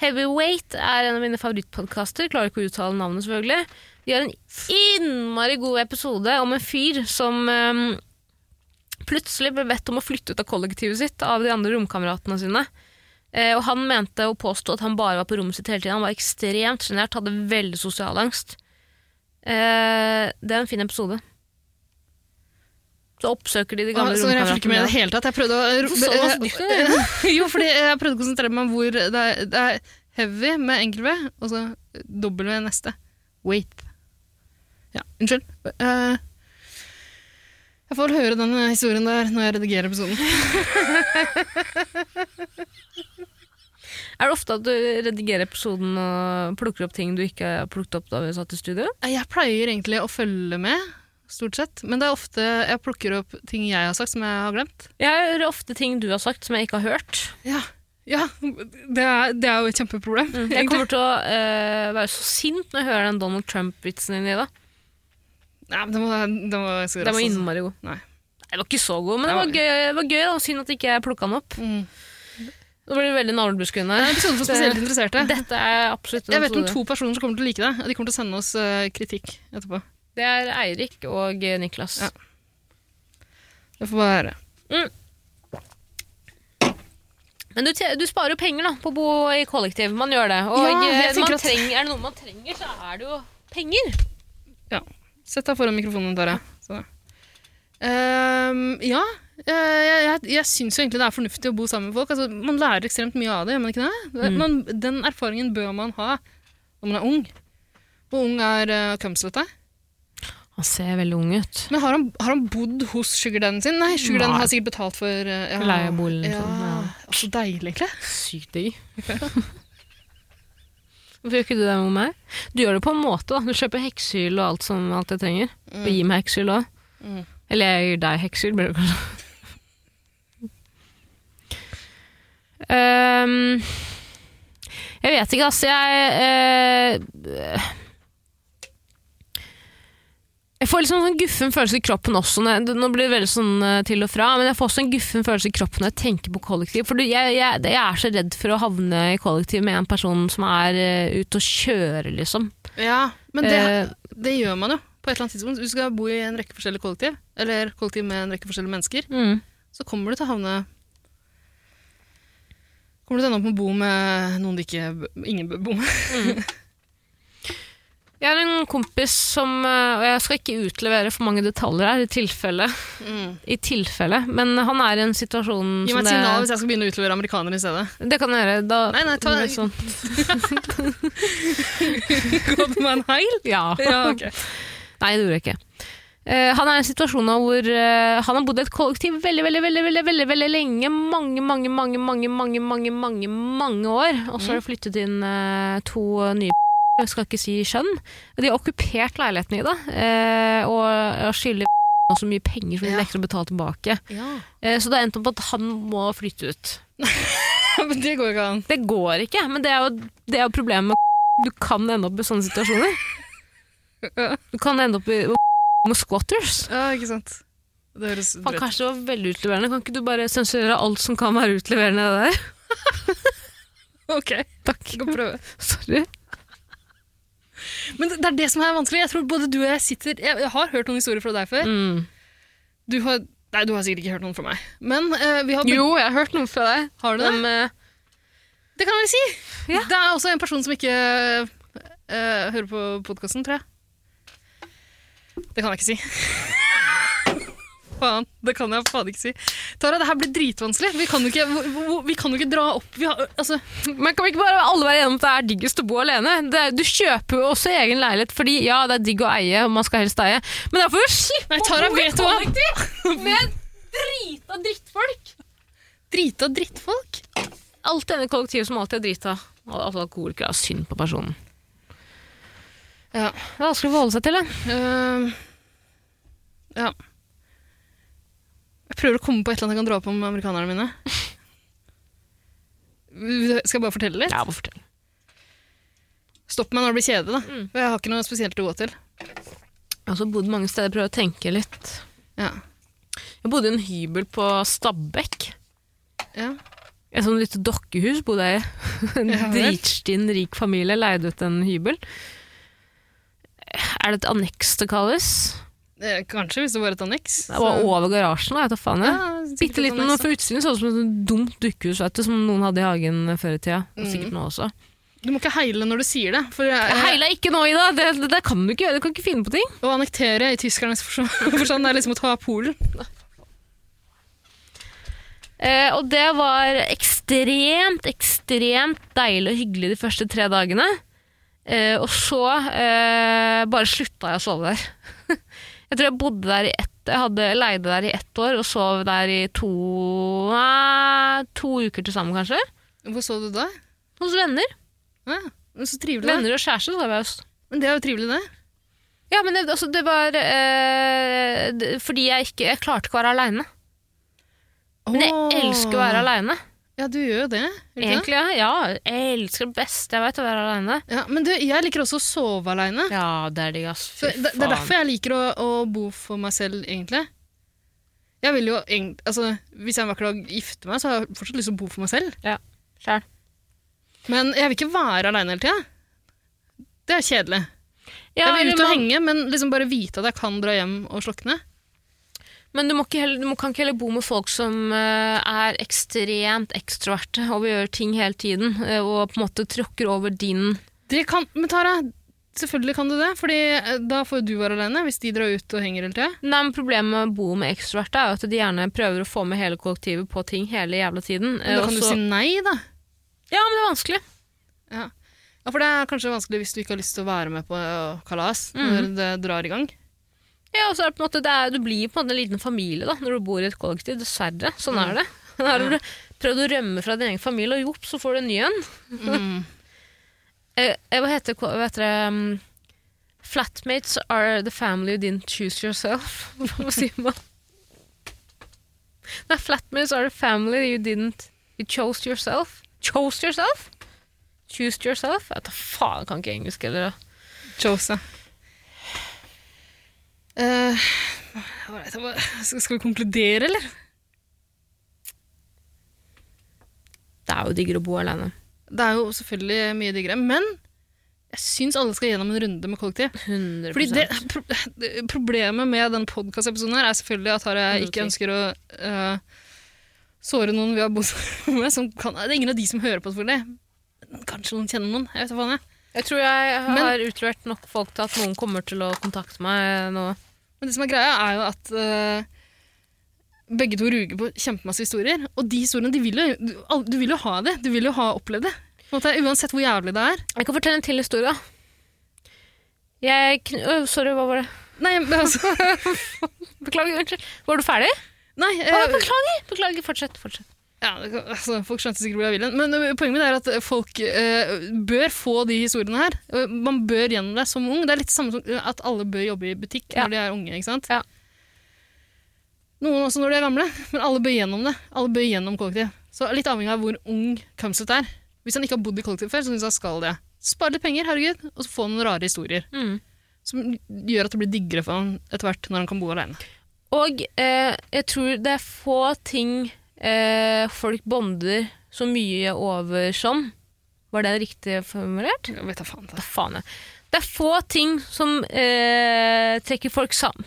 Speaker 2: Heavyweight er en av mine favorittpodkaster. Klarer ikke å uttale navnet, selvfølgelig. De har en innmari god episode om en fyr som eh, plutselig ble bedt om å flytte ut av kollektivet sitt av de andre romkameratene sine. Eh, og han mente å påstå at han bare var på rommet sitt hele tiden. Han var ekstremt sjenert, hadde veldig sosial angst. Eh, det er en fin episode. Så oppsøker de de
Speaker 3: Ah,
Speaker 2: gamle
Speaker 3: sorry, jeg fikk ikke med i det
Speaker 2: romkameratene.
Speaker 3: hele tatt. Jeg prøvde å
Speaker 2: Hvorfor så du meg så dypt i
Speaker 3: Jo, fordi jeg prøvde å konsentrere meg om hvor det er, det er heavy med enkel V, og så dobbel V neste. Wait. Ja, unnskyld. Eh, jeg får vel høre den historien der når jeg redigerer episoden.
Speaker 2: Er det ofte at du redigerer episoden og plukker opp ting du ikke har plukket opp da vi satt i studio?
Speaker 3: Eh, Jeg pleier egentlig å følge med, stort sett. Men det er ofte jeg plukker opp ting jeg har sagt som jeg har glemt.
Speaker 2: Jeg hører ofte ting du har sagt som jeg ikke har hørt.
Speaker 3: Ja, ja det, er, det er jo et kjempeproblem.
Speaker 2: Jeg kommer til å eh, være så sint når jeg hører den Donald Trump-vitsen din i dag.
Speaker 3: Nei, men det må, det må, jeg si
Speaker 2: Den var
Speaker 3: raskt, altså.
Speaker 2: innmari god.
Speaker 3: Nei.
Speaker 2: Den var ikke så god, men den
Speaker 3: Nei,
Speaker 2: var gøy. Det var gøy da. Synd at ikke jeg plukka den opp.
Speaker 3: Mm.
Speaker 2: Nå blir det veldig navlebuskende
Speaker 3: Det er en
Speaker 2: her.
Speaker 3: episode for spesielt interesserte.
Speaker 2: Dette er absolutt en
Speaker 3: Jeg vet om
Speaker 2: episode.
Speaker 3: to personer som kommer til å like det, og de kommer til å sende oss eh, kritikk etterpå.
Speaker 2: Det er Eirik og eh, Niklas.
Speaker 3: Ja. Det får bare være.
Speaker 2: Men du, tje- du sparer jo penger da, på å bo i kollektiv. Man gjør det. Og
Speaker 3: Ja,
Speaker 2: eh,
Speaker 3: jeg tenker
Speaker 2: man
Speaker 3: at-
Speaker 2: trenger, er det noe man trenger, så er det jo penger.
Speaker 3: Sett deg foran mikrofonen, Tara. Så. Ehm, ja, eh, jeg, jeg, jeg syns jo egentlig det er fornuftig å bo sammen med folk. Altså, man lærer ekstremt mye av det, gjør man ikke det?
Speaker 2: Mm.
Speaker 3: Det- Man, den erfaringen bør man ha når man er ung. Og ung er uh, Kumsvete.
Speaker 2: Han ser veldig ung ut.
Speaker 3: Men har han, har han bodd hos sugardadden sin? Nei, sugardadden
Speaker 2: Nei.
Speaker 3: har sikkert betalt for eh, ja,
Speaker 2: Leieboligen,
Speaker 3: Ja,
Speaker 2: liksom, ja.
Speaker 3: Så deilig, egentlig.
Speaker 2: Sykt digg. Hvorfor gjør ikke du det med meg? Du gjør det på en måte. da. Du kjøper heksehyl og alt, som, alt jeg trenger. Og gir meg heksehyl òg.
Speaker 3: Mm.
Speaker 2: Eller jeg gir deg heksehyl, blir det kanskje. Ehm, jeg vet ikke, altså. Jeg eh, Jeg får litt sånn sånn guffen følelse i kroppen også. Når jeg, nå blir det veldig sånn eh, til og fra, men jeg får også en guffen følelse i kroppen når jeg tenker på kollektiv. For du, jeg, jeg, jeg er så redd for å havne i kollektiv med en person som er eh, ute og kjører, liksom.
Speaker 3: Ja, men det,
Speaker 2: Eh.
Speaker 3: det gjør man jo på et eller annet tidspunkt. Du skal bo i en rekke forskjellige kollektiv, eller kollektiv med en rekke forskjellige mennesker.
Speaker 2: mm.
Speaker 3: Så kommer du til å havne Kommer du til å ende opp med å bo med noen du ikke b- ingen bør bo med?
Speaker 2: Jeg har en kompis som eh, Og jeg skal ikke utlevere for mange detaljer her, i tilfelle. I tilfelle. Men han er i en situasjon
Speaker 3: Mm. Gi
Speaker 2: som
Speaker 3: meg et signal
Speaker 2: det,
Speaker 3: hvis jeg skal begynne å utlevere amerikanere i stedet.
Speaker 2: det kan jeg gjøre. Da,
Speaker 3: Nei, nei, ta-
Speaker 2: det er sånn.
Speaker 3: Gå på meg en heil?
Speaker 2: Ja.
Speaker 3: Ja, ok.
Speaker 2: Nei, det gjorde jeg ikke. Eh, han er i en situasjon nå hvor eh, han har bodd i et kollektiv veldig veldig, veldig, veldig, veldig, veldig lenge. Mange, mange, mange, mange, mange, mange, mange, mange år. Og så har det flyttet inn eh, to nye p- jeg skal ikke si kjønn. De har okkupert leiligheten i det, eh, og, og skylder p- så mye penger som de
Speaker 3: Ja.
Speaker 2: nekter å betale tilbake.
Speaker 3: Ja.
Speaker 2: Eh, så det har endt opp med at han må flytte ut.
Speaker 3: Men det går jo ikke an.
Speaker 2: Det går ikke, men det er jo, det er jo problemet med Du kan ende opp i sånne situasjoner.
Speaker 3: Ja.
Speaker 2: Du kan ende opp i med squatters.
Speaker 3: Ja, ikke sant. Det høres
Speaker 2: Faen,
Speaker 3: drøyt ut.
Speaker 2: kanskje det var veldig utleverende. Kan ikke du bare sensurere alt som kan være utleverende i det der?
Speaker 3: Ok,
Speaker 2: Takk.
Speaker 3: jeg kan prøve.
Speaker 2: Sorry.
Speaker 3: Men det det er det som er vanskelig. Jeg tror både du og jeg sitter Jeg, jeg har hørt noen historier fra deg før.
Speaker 2: Mm.
Speaker 3: Du har, nei, du har sikkert ikke hørt noen fra meg. Men eh, vi har begge-
Speaker 2: Jo, jeg har hørt noe fra deg.
Speaker 3: Har du det?
Speaker 2: Om, eh,
Speaker 3: Det kan jeg vel si!
Speaker 2: Ja.
Speaker 3: Det er også en person som ikke eh, hører på podkasten, tror jeg. Det kan jeg ikke si. faen. Det kan jeg faen ikke si. Tara, det her blir dritvanskelig. Vi kan jo ikke, hvor- hvor- vi kan jo ikke dra opp vi har, altså,
Speaker 2: men kan vi ikke bare alle være enige om at det er diggest å bo alene? Det, er- du kjøper jo også egen leilighet fordi ja, det er digg å eie, og man skal helst eie, men da får du slippe
Speaker 3: Nei, Tara,
Speaker 2: å bo i
Speaker 3: vet du hva?
Speaker 2: kollektiv med drita drittfolk!
Speaker 3: Drita drittfolk?
Speaker 2: Alt denne kollektivet som alltid er drita. Og alle alkoholikere har synd på personen.
Speaker 3: Ja.
Speaker 2: Det er vanskelig å forholde seg til, det.
Speaker 3: Ehm, ja. Jeg prøver å komme på et eller annet jeg kan dra opp om amerikanerne mine. Skal jeg bare fortelle litt?
Speaker 2: Ja, bare fortell.
Speaker 3: Stopp meg når det blir kjedelig, da. For jeg har ikke noe spesielt å gå til.
Speaker 2: Jeg har også bodd mange steder, prøvd å tenke litt.
Speaker 3: Ja.
Speaker 2: Jeg bodde i en hybel på Stabekk.
Speaker 3: Ja.
Speaker 2: Et sånt lite dokkehus bodde jeg i. En
Speaker 3: Ja vel.
Speaker 2: dritstinn rik familie leide ut en hybel. Er det et anneks det kalles?
Speaker 3: Eh, kanskje, hvis det var et anneks.
Speaker 2: Det var
Speaker 3: så-
Speaker 2: over garasjen, da, jeg vet da faen.
Speaker 3: Ja,
Speaker 2: jeg.
Speaker 3: sikkert et
Speaker 2: Bitte liten,
Speaker 3: anneks,
Speaker 2: og fra utsiden så ut som et dumt dukkehus vet du, som noen hadde i hagen før i tida.
Speaker 3: Mm.
Speaker 2: Og sikkert nå også.
Speaker 3: da. Du må ikke heile når du sier det. For, jeg-
Speaker 2: Jeg heila ikke nå, Ida! Det, det, det kan du ikke gjøre. Du kan ikke finne på ting.
Speaker 3: Å annektere i tyskernes forstand forstand, det er liksom å ta Polen.
Speaker 2: Eh, og det var ekstremt, ekstremt deilig og hyggelig de første tre dagene. Eh, og så eh, bare slutta jeg å sove der. jeg tror jeg bodde der i ett Jeg hadde leide der i ett år og sov der i to nei, to uker til sammen, kanskje.
Speaker 3: Hvor så du da?
Speaker 2: Hos venner.
Speaker 3: Ja, men så trivelig, da.
Speaker 2: Venner og kjæreste sov jeg hos.
Speaker 3: Men det er jo trivelig, det.
Speaker 2: Ja, men det, altså, det var eh, det, fordi jeg ikke Jeg klarte ikke å være aleine. Men jeg elsker å være aleine.
Speaker 3: Ja, du gjør jo det. gjør du ikke det?
Speaker 2: Egentlig, ja. ja. Jeg elsker det beste jeg veit, å være aleine.
Speaker 3: Ja, men du, jeg liker også å sove aleine.
Speaker 2: Ja, det er digg, ass.
Speaker 3: Så det, det er derfor jeg liker å, å bo for meg selv, egentlig. Jeg vil jo egentlig, altså, Hvis jeg en vakker dag gifter meg, så har jeg fortsatt lyst til å bo for meg selv.
Speaker 2: Sjæl.
Speaker 3: Men jeg vil ikke være aleine hele tida. Det er kjedelig.
Speaker 2: Ja,
Speaker 3: jeg vil ut og
Speaker 2: men,
Speaker 3: henge, men liksom bare vite at jeg kan dra hjem og slokne.
Speaker 2: Men du, må ikke heller, du må, kan ikke heller bo med folk som eh, er ekstremt ekstroverte og vil gjøre ting hele tiden, eh, og på en måte tråkker over din
Speaker 3: Det kan, men Tara, selvfølgelig kan du det, Fordi eh, da får jo du være alene hvis de drar ut og henger hele tida.
Speaker 2: Nei, men Problemet med å bo med ekstroverte er jo at de gjerne prøver å få med hele kollektivet på ting hele jævla tiden. eh,
Speaker 3: Da
Speaker 2: og
Speaker 3: kan du
Speaker 2: så-
Speaker 3: si nei, da.
Speaker 2: Ja, men det er vanskelig.
Speaker 3: Ja. ja, for det er kanskje vanskelig hvis du ikke har lyst til å være med på øh, kalas når
Speaker 2: Mm.
Speaker 3: det drar i gang.
Speaker 2: Ja, og så er det på en måte, det er, Du blir på en måte en liten familie da, når du bor i et kollektiv. Dessverre. Sånn er det. Da har du prøvd å rømme fra din egen familie, og jopp, så får du en ny en. Mm. Eh, eh, hva heter, hva heter det um, Flatmates are the family you didn't choose yourself. Hva sier man? Nei, flatmates are the family you didn't You chose yourself. Chose yourself? Choose yourself? Jeg vet da faen, jeg kan ikke engelsk heller. da.
Speaker 3: Chose. Eh, all right, jeg må- skal skal vi konkludere, eller?
Speaker 2: Det er jo diggere å bo alene.
Speaker 3: Det er jo selvfølgelig mye diggere, men jeg syns alle skal gjennom en runde med kollektiv.
Speaker 2: 100
Speaker 3: Fordi det, pro det- Problemet med den podkastepisoden her er selvfølgelig at Tara ikke
Speaker 2: Undertrykt.
Speaker 3: ønsker å eh, såre noen vi har bodd med. Som kan, det er ingen av de som hører på, selvfølgelig. Men Kanskje noen kjenner noen. Jeg vet da faen, jeg.
Speaker 2: Jeg tror jeg har
Speaker 3: Men-
Speaker 2: utlevert nok folk til at noen kommer til å kontakte meg nå.
Speaker 3: Men det som er greia, er jo at eh, begge to ruger på kjempemasse historier. Og de historiene, de vil jo, du, al- du vil jo ha det. Du vil jo ha opplevd det. På en måte, uansett hvor jævlig det er.
Speaker 2: Jeg kan fortelle en til historie. da. Jeg kn... Ø, sorry, hva var det?
Speaker 3: Nei, men altså
Speaker 2: Beklager, unnskyld. Var du ferdig?
Speaker 3: Nei.
Speaker 2: Å,
Speaker 3: eh,
Speaker 2: beklager! Beklager, fortsett. fortsett.
Speaker 3: ja, det kan- altså, folk skjønte sikkert hvor jeg ville. Men eh, poenget mitt er at folk eh, bør få de historiene her. Eh, Man bør gjennom det som ung. Det er litt samme som eh, at alle bør jobbe i butikk
Speaker 2: Ja.
Speaker 3: når de er unge. ikke sant?
Speaker 2: Ja.
Speaker 3: Noen også når de er gamle, men alle bør gjennom det. Alle bør gjennom kollektiv. Så litt avhengig av hvor ung Kamset er. Hvis han ikke har bodd i kollektiv før, så syns han skal det. Spare litt penger, herregud, og så få noen rare historier.
Speaker 2: Mm.
Speaker 3: Som gjør at det blir diggere for han etter hvert når han kan bo alene.
Speaker 2: Og eh, jeg tror det er få ting eh, folk bonder så mye over som. Var det riktig formulert?
Speaker 3: Jeg vet da faen. altså.
Speaker 2: Da faen jeg. Det er få ting som eh, trekker folk sammen.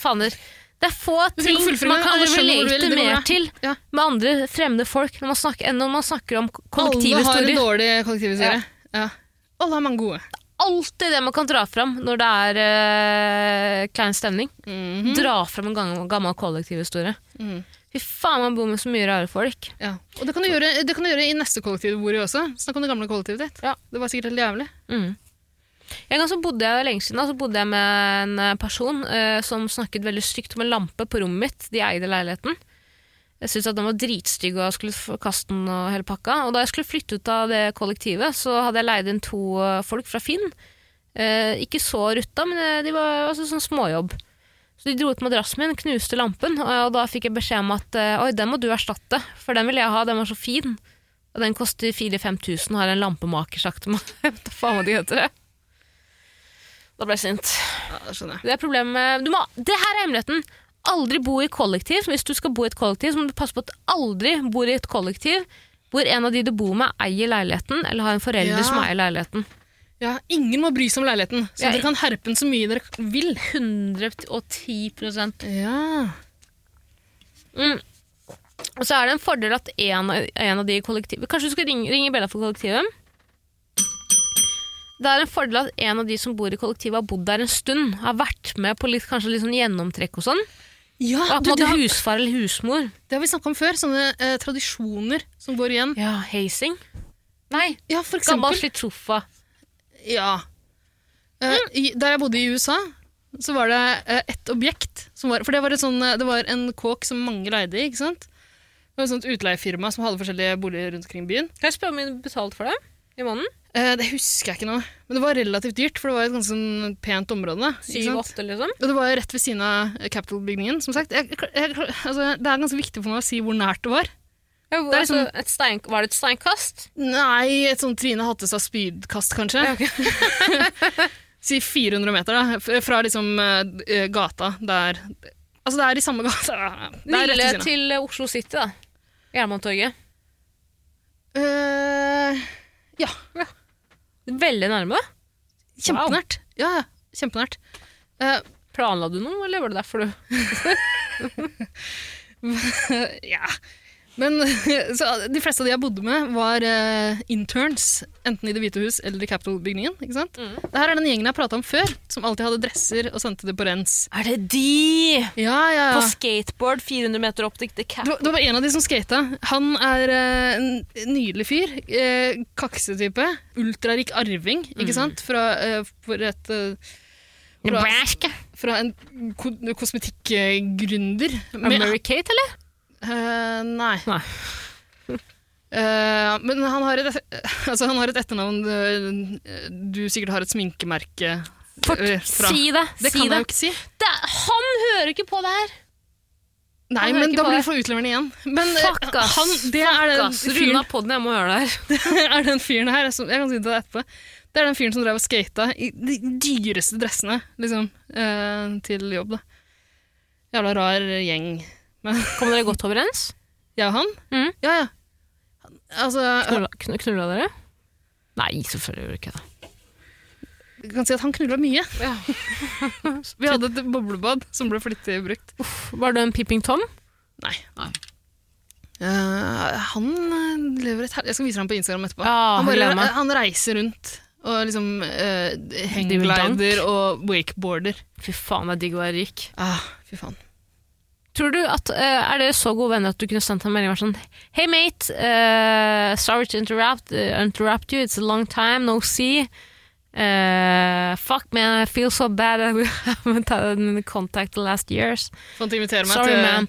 Speaker 2: Faner. Det er få
Speaker 3: Du trenger
Speaker 2: ting
Speaker 3: å fullføre
Speaker 2: man
Speaker 3: det.
Speaker 2: kan
Speaker 3: Alle skjønner hvor du vil.
Speaker 2: relate
Speaker 3: Det går
Speaker 2: mer
Speaker 3: bra.
Speaker 2: til
Speaker 3: Ja.
Speaker 2: med andre fremmede folk når man snakker, enn når man snakker om
Speaker 3: Alle har en
Speaker 2: kollektivhistorier.
Speaker 3: dårlig kollektivhistorie. Ja. Alle har mange gode.
Speaker 2: Alltid det man kan dra fram når det er eh, klein stemning. Dra fram en gammel, gammel kollektivhistorie.
Speaker 3: Mhm.
Speaker 2: Fy faen, man bor med så mye rare folk.
Speaker 3: Ja. Og det kan, du gjøre, det kan du gjøre i neste kollektiv du bor i også. Snakk om det gamle kollektivet ditt.
Speaker 2: Ja.
Speaker 3: Det var sikkert helt jævlig.
Speaker 2: Mm. En gang så bodde jeg lenge siden da, så bodde jeg med en eh, person eh, som snakket veldig stygt om en lampe på rommet mitt. De eide leiligheten. Jeg syntes at den var dritstygg og jeg skulle f- kaste den og hele pakka. Og da jeg skulle flytte ut av det kollektivet, så hadde jeg leid inn to eh, folk fra Finn. Eh, ikke så rutta, men eh, de var altså, sånn småjobb. Så de dro ut madrassen min, knuste lampen, og, og da fikk jeg beskjed om at eh, oi, den må du erstatte, for den vil jeg ha, den var så fin. Og den koster 4000-5000, har en lampemaker sagt til meg. Jeg vet da faen hva de heter det. Da ble jeg sint.
Speaker 3: Ja, det skjønner jeg.
Speaker 2: Det er problemet med du må, Det her er hemmeligheten. Aldri bo i kollektiv. Hvis du skal bo i et kollektiv, så må du passe på at du aldri bor i et kollektiv hvor en av de du bor med, eier leiligheten, eller har en forelder
Speaker 3: Ja.
Speaker 2: som eier leiligheten.
Speaker 3: Ja, ingen må bry seg om leiligheten, så
Speaker 2: Ja,
Speaker 3: dere kan herpe den så mye dere vil.
Speaker 2: 110
Speaker 3: Ja.
Speaker 2: Og så er det en fordel at en, av- en av de i kollektivet Kanskje du skal ringe, ringe Bella for kollektivet? Det er en fordel at en av de som bor i kollektivet, har bodd der en stund. Har vært med på litt, kanskje litt sånn gjennomtrekk og sånn.
Speaker 3: Ja,
Speaker 2: Og er på
Speaker 3: Ah, du,
Speaker 2: en
Speaker 3: det,
Speaker 2: måte
Speaker 3: har,
Speaker 2: husfar eller husmor.
Speaker 3: det har vi snakka om før. Sånne eh, tradisjoner som går igjen.
Speaker 2: Ja, heising. Nei,
Speaker 3: Ja, for
Speaker 2: gammel
Speaker 3: eksempel.
Speaker 2: slitrofa.
Speaker 3: Ja. Eh, i, der jeg bodde i USA, så var det eh, et objekt som var For det var, et sånn, eh, det var en kåk som mange leide i, ikke sant? Det var et sånt utleiefirma som hadde forskjellige boliger rundt omkring i byen.
Speaker 2: Kan jeg spørre om du betalte for det i måneden?
Speaker 3: Eh, det husker jeg ikke nå, men det var relativt dyrt, for det var et ganske sånn pent område. ikke sant?
Speaker 2: Syv-åtte, liksom?
Speaker 3: Og det var jo rett ved siden av Capitol-bygningen, som sagt. Jeg, jeg, altså, det er ganske viktig for meg å si hvor nært det var.
Speaker 2: Ja, hvor-
Speaker 3: Det er liksom-
Speaker 2: altså, et stein, var det et steinkast?
Speaker 3: Nei, et sånn Trine Hattestad spydkast, kanskje. si 400 meter, da. f- Fra liksom eh, gata der Altså, det er i samme gata. Det er rett ved
Speaker 2: Ville
Speaker 3: siden av.
Speaker 2: til eh, Oslo City, da. Jernbanetorget.
Speaker 3: Eh, ja.
Speaker 2: Veldig nærme.
Speaker 3: Kjempenært. Ja, ja, kjempenært. Eh,
Speaker 2: Planla du noe, eller var det derfor du
Speaker 3: Eh, ja. Men så De fleste av de jeg bodde med, var eh, interns. Enten i Det hvite hus eller i Capitol-bygningen. ikke sant? Det her er den gjengen jeg prata om før, som alltid hadde dresser og sendte det på rens.
Speaker 5: Er det de?
Speaker 3: Ja, ja,
Speaker 5: På
Speaker 3: ja.
Speaker 5: skateboard 400 meter opp til The Cap.
Speaker 3: Det var- det var en av de som skata. Han er eh, en nydelig fyr. Uh, kaksetype. Ultrarik arving, ikke sant? Fra, eh, for et, eh, fra, fra en ko kosmetikkgründer. med-
Speaker 2: Americate, eller?
Speaker 3: Eh, nei.
Speaker 2: Nei.
Speaker 3: Eh, men han har, et, altså, han har et etternavn eh, du sikkert har et sminkemerke
Speaker 2: Fort,
Speaker 3: eh,
Speaker 2: si det!
Speaker 3: Det
Speaker 2: si
Speaker 3: kan
Speaker 2: det.
Speaker 3: jeg jo ikke si.
Speaker 2: det! Han hører ikke på det her!
Speaker 3: Nei,
Speaker 2: hører
Speaker 3: men
Speaker 2: ikke
Speaker 3: da
Speaker 2: på
Speaker 3: blir
Speaker 2: det.
Speaker 3: det for utleverende igjen. Men eh,
Speaker 2: Fuck, ass.
Speaker 3: han, det er den
Speaker 2: Gass, Rune
Speaker 3: fyren,
Speaker 2: av podden, jeg må høre det her.
Speaker 3: er den fyren her som, Jeg kan si det til deg etterpå. Det er den fyren som drev og skata i de dyreste dressene liksom, eh, til jobb. Da. Jævla rar gjeng. Men
Speaker 2: Kom dere godt overens?
Speaker 3: jeg og han?
Speaker 2: Mhm.
Speaker 3: Ja, ja. Altså,
Speaker 2: Knulla, kn- knulla dere? Nei, selvfølgelig gjorde dere ikke det.
Speaker 3: Jeg kan si at han knulla mye. Vi hadde et boblebad som ble flittig brukt.
Speaker 2: Var det en Peeping Tom?
Speaker 3: Nei. han eh, lever et her... Jeg skal vise ham på Instagram etterpå.
Speaker 2: Ja,
Speaker 3: han,
Speaker 2: gleder meg.
Speaker 3: han reiser rundt og liksom eh,
Speaker 2: Dividend.
Speaker 3: hangglider og wakeboarder.
Speaker 2: Fy faen, det er digg å være rik.
Speaker 3: Ah, fy faen.
Speaker 2: Tror du at, eh, Er dere så gode venner at du kunne sendt en melding og vært sånn Hey mate, eh, sorry to interrupt, eh, interrupt you, it's a long time, no see. Eh, fuck man, I feel so bad that we haven't had any contact the last years.
Speaker 3: Fant invitere meg
Speaker 2: Sorry
Speaker 3: til
Speaker 2: man.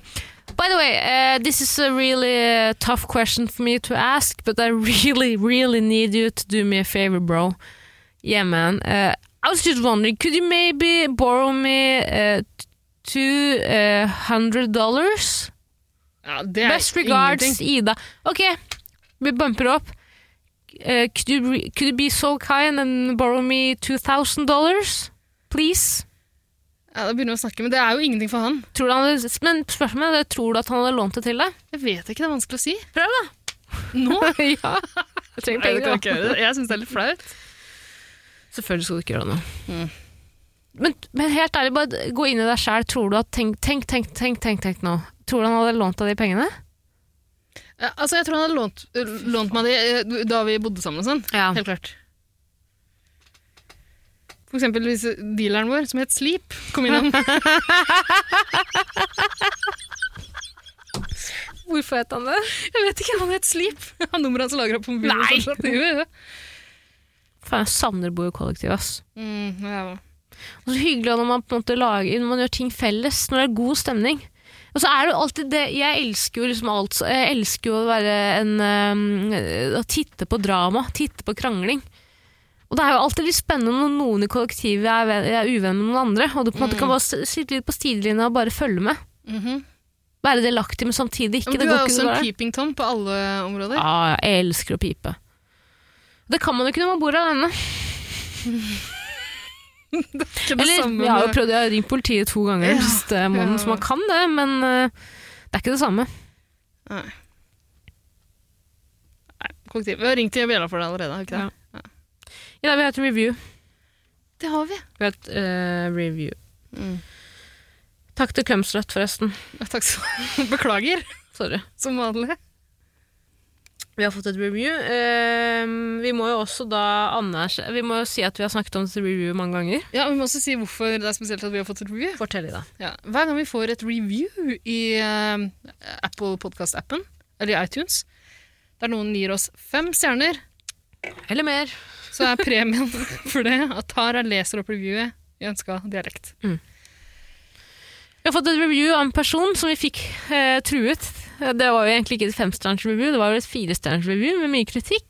Speaker 2: By the way, eh, this is a really eh, tough question for me to ask, but I really, really need you to do me a favor, bro. Yeah man. Eh, I was just wondering, could you maybe borrow me uh, two eh, hundred dollars?
Speaker 3: ja, det er
Speaker 2: Best regards,
Speaker 3: ingenting.
Speaker 2: Ida. Ok, vi bumper opp. Eh, could, you re- could you be so kind and borrow me $2,000? Please?
Speaker 3: Ja, da begynner vi å snakke, men det er jo ingenting for han.
Speaker 2: Tror du han hadde, men spørsmålet er, tror du at han hadde lånt det til deg?
Speaker 3: Jeg vet ikke, det er vanskelig å si.
Speaker 2: Prøv, da.
Speaker 3: Nå?
Speaker 2: ja. Jeg trenger
Speaker 3: Nei, det kan
Speaker 2: penger,
Speaker 3: jeg ikke gjøre. Jeg syns det er litt flaut.
Speaker 2: da. Selvfølgelig skal du ikke gjøre noe.
Speaker 3: Mm.
Speaker 2: Men, men helt ærlig, bare gå inn i deg sjæl. Tror du at Tenk, tenk, tenk, tenk, tenk, tenk nå. Tror du han hadde lånt deg de pengene?
Speaker 3: Ja, altså, jeg tror han hadde lånt, lånt meg det eh, da vi bodde sammen og sånn.
Speaker 2: Ja.
Speaker 3: Helt klart. For eksempel hvis dealeren vår, som het Sleep, kom innom.
Speaker 2: Hvorfor het han det?
Speaker 3: Jeg vet ikke, han het Sleep. Han nummeret hans lagra på mobilen.
Speaker 2: Nei!
Speaker 3: fortsatt. Jo, jo.
Speaker 2: Faen, jeg savner boerkollektivet, ass.
Speaker 3: Mm, ja.
Speaker 2: Og så hyggelig når man på en måte lager, når man gjør ting felles, når det er god stemning. Og så er det jo alltid det, jeg elsker jo liksom alt, så- jeg elsker jo å være en, øhm, å titte på drama, titte på krangling. Og det er jo alltid litt spennende når noen i kollektivet er, ven- er uvenn med noen andre, og du på en måte
Speaker 3: Mm.
Speaker 2: kan bare s- sitte litt på sidelinja og bare følge med.
Speaker 3: Mhm.
Speaker 2: Være delaktig, men samtidig ikke.
Speaker 3: Men
Speaker 2: Det
Speaker 3: du
Speaker 2: går
Speaker 3: er
Speaker 2: ikke så
Speaker 3: også en
Speaker 2: bra.
Speaker 3: peeping tom på alle områder.
Speaker 2: Ja, jeg elsker å pipe. Det kan man jo ikke når man bor alene.
Speaker 3: Ikke det
Speaker 2: Eller,
Speaker 3: samme
Speaker 2: jeg har jo
Speaker 3: med-
Speaker 2: prøvd, jeg har ringt politiet to ganger den
Speaker 3: Ja,
Speaker 2: siste måneden,
Speaker 3: ja.
Speaker 2: så man kan det, men eh, det er ikke det samme.
Speaker 3: Nei. Nei, kollektiv. Vi har ringt til bjella for deg allerede, har vi ikke det?
Speaker 2: Ja. I dag vi har et review.
Speaker 3: Det har vi.
Speaker 2: Vi har et eh, review.
Speaker 3: Mm.
Speaker 2: Takk til Kømsrødt, forresten.
Speaker 3: Ja, Takk så Beklager,
Speaker 2: Sorry.
Speaker 3: som vanlig.
Speaker 2: Vi har fått et review. Eh, vi må jo også da anerkjenne Vi må jo si at vi har snakket om dette review mange ganger.
Speaker 3: Ja, Vi må også si hvorfor det er spesielt at vi har fått et review.
Speaker 2: Fortell i dag.
Speaker 3: Ja. Hver gang vi får et review i eh, Apple Podcast-appen, eller i iTunes, der noen gir oss fem stjerner,
Speaker 2: Eller mer.
Speaker 3: så er premien for det at Tara leser opp reviewet i ønska dialekt.
Speaker 2: Vi har fått et review av en person som vi fikk eh, truet. Eh, Det var jo egentlig ikke et femstjerners review, det var jo et firestjerners review med mye kritikk.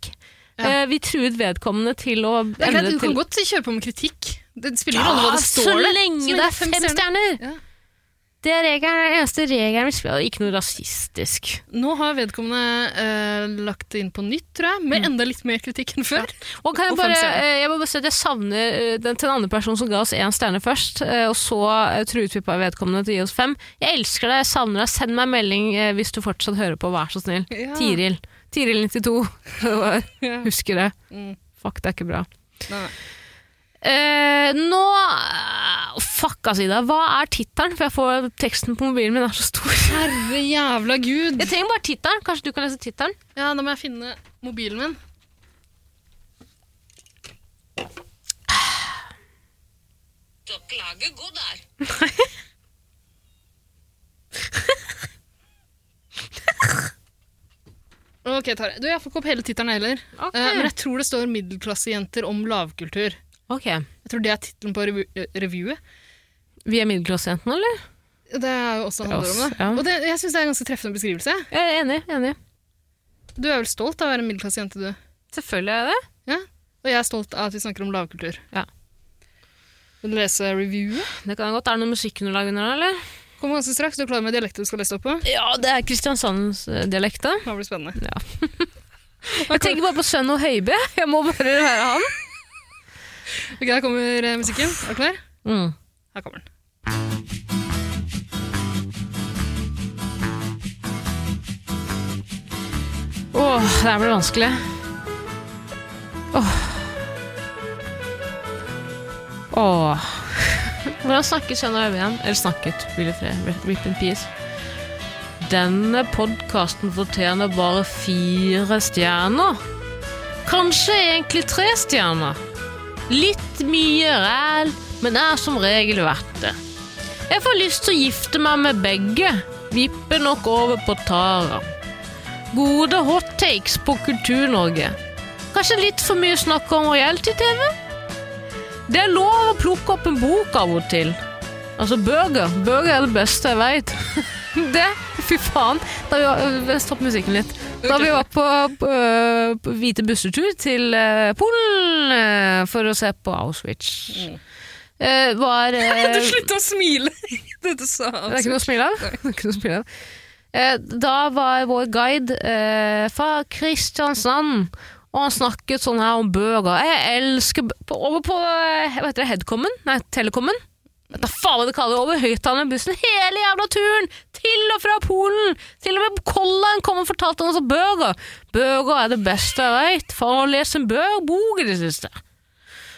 Speaker 3: Ja.
Speaker 2: Eh, vi truet vedkommende til å
Speaker 3: Det er greit,
Speaker 2: endre
Speaker 3: du kan
Speaker 2: til
Speaker 3: godt kjøre på med kritikk. Det spiller ingen rolle hva det står
Speaker 2: så
Speaker 3: der.
Speaker 2: lenge det er fem stjerner.
Speaker 3: Ja.
Speaker 2: Det er regelen, den eneste regelen vi spiller. Ikke noe rasistisk.
Speaker 3: Nå har vedkommende eh, lagt det inn på nytt, tror jeg,
Speaker 2: Mm.
Speaker 3: med enda litt mer kritikk enn før.
Speaker 2: Og kan jeg
Speaker 3: Og fem
Speaker 2: bare,
Speaker 3: stjerner.
Speaker 2: eh, jeg må bare si at jeg savner eh, den til den andre personen som ga oss én stjerne først, eh, og så eh, truet vi på vedkommende til å gi oss fem. Jeg elsker deg, jeg savner deg. Send meg en melding eh, hvis du fortsatt hører på, vær så snill.
Speaker 3: Ja.
Speaker 2: Tiril. Tiril92.
Speaker 3: Ja.
Speaker 2: Husker det.
Speaker 3: Mm.
Speaker 2: Fuck, det er ikke bra.
Speaker 3: Nei.
Speaker 2: Eh, nå eh, Uff, Fuck, altså, Ida. Hva er tittelen? For jeg får teksten på mobilen min er så stor.
Speaker 3: Herre jævla gud.
Speaker 2: Jeg trenger bare tittelen. Kanskje du kan lese tittelen?
Speaker 3: Ja, da må jeg finne mobilen min. Ok, Tare. Du, Jeg får ikke opp hele tittelen heller.
Speaker 2: Ok.
Speaker 3: Eh, men jeg tror det står 'Middelklassejenter om lavkultur'.
Speaker 2: Ok.
Speaker 3: Jeg tror det er tittelen på revu eh, revyet.
Speaker 2: Vi er middelklassejentene, eller?
Speaker 3: Det er jo også det handler
Speaker 2: oss,
Speaker 3: om det.
Speaker 2: ja.
Speaker 3: Og det, jeg syns det er en ganske treffende beskrivelse.
Speaker 2: Jeg er enig. enig.
Speaker 3: Du er vel stolt av å være en middelklassejente, du?
Speaker 2: Selvfølgelig er jeg det.
Speaker 3: Ja? Og jeg er stolt av at vi snakker om lavkultur.
Speaker 2: Ja.
Speaker 3: Vil du lese reviewet?
Speaker 2: Det kan jeg godt. Er det noe musikkunderlag under der, eller?
Speaker 3: Kommer ganske straks. Du er klar med dialekten du skal lese opp på?
Speaker 2: Ja, det er eh, Kristiansandsdialekta.
Speaker 3: Det blir spennende.
Speaker 2: Jeg tenker bare på Sønn og Høibø. Jeg må bare være han.
Speaker 3: Ok, Her kommer eh, musikken. Er du klar?
Speaker 2: Mm.
Speaker 3: Her kommer den.
Speaker 2: Åh, det her blir vanskelig. Åh. Åh. Hvordan snakket Sønn og Øyvind igjen? Eller snakket, Willy Frey, rip in peace. Denne podkasten fortjener bare fire stjerner. Kanskje egentlig tre stjerner. Litt mye ræl, men er som regel verdt det. Jeg får lyst til å gifte meg med begge. Vippe nok over på Tara. Gode hot takes på Kultur-Norge. Kanskje litt for mye snakk om reality-TV? Det er lov å plukke opp en bok av og til. Altså burger. Burger er det beste jeg veit. Det Fy faen. Da vi var, øh, stopp musikken litt. Da vi var på, øh, på hvite bussetur til øh, Polen øh, for å se på Auschwitz, Eh, var eh,
Speaker 3: Slutt å smile! det du sa.
Speaker 2: det er ikke noe å smile av. Det er ikke noe å smile av. Eh, Da var vår guide eh, fra Kristiansand, og han snakket sånn her om burger. Jeg elsker b- på- Over på eh, hva heter det, Headcomen? Nei, Telecomen? Vet da faen hva de kaller det. Over høyttalerbussen hele jævla turen! Til og fra Polen! Til og med Kollaen kom og fortalte oss om burger. Burger er det beste jeg veit. Faen, jeg har lest en bø- bok i det siste.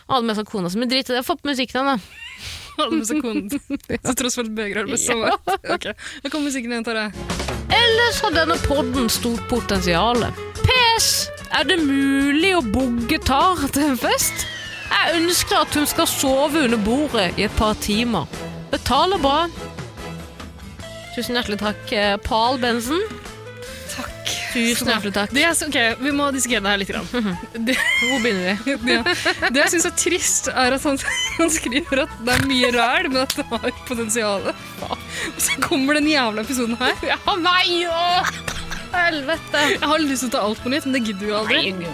Speaker 2: Han hadde med seg kona si, men drit i det. Få på musikken igjen, da.
Speaker 3: Alle med sekunden. Så tross for at bøger er det beste som
Speaker 2: Ja.
Speaker 3: har vært. Ok, Her kommer musikken igjen, Tare.
Speaker 2: Ellers har denne podden stort potensial. PS. Er det mulig å booke Tar til en fest? Jeg ønsker at hun skal sove under bordet i et par timer. Betaler bra. Tusen hjertelig takk, eh, Pal Bensen.
Speaker 3: Takk. Mhm.
Speaker 2: Tusen hjertelig takk.
Speaker 3: Det jeg, s- ok, Vi må dissekere det her litt. Grann. Det,
Speaker 2: Hvor begynner vi?
Speaker 3: ja. det jeg syns er trist, er at han, han skriver at det er mye ræl, men at det har potensial. Så kommer den jævla episoden her.
Speaker 2: Ja, nei! Å, helvete!
Speaker 3: Jeg har lyst til å ta alt på nytt, men det gidder vi jo aldri.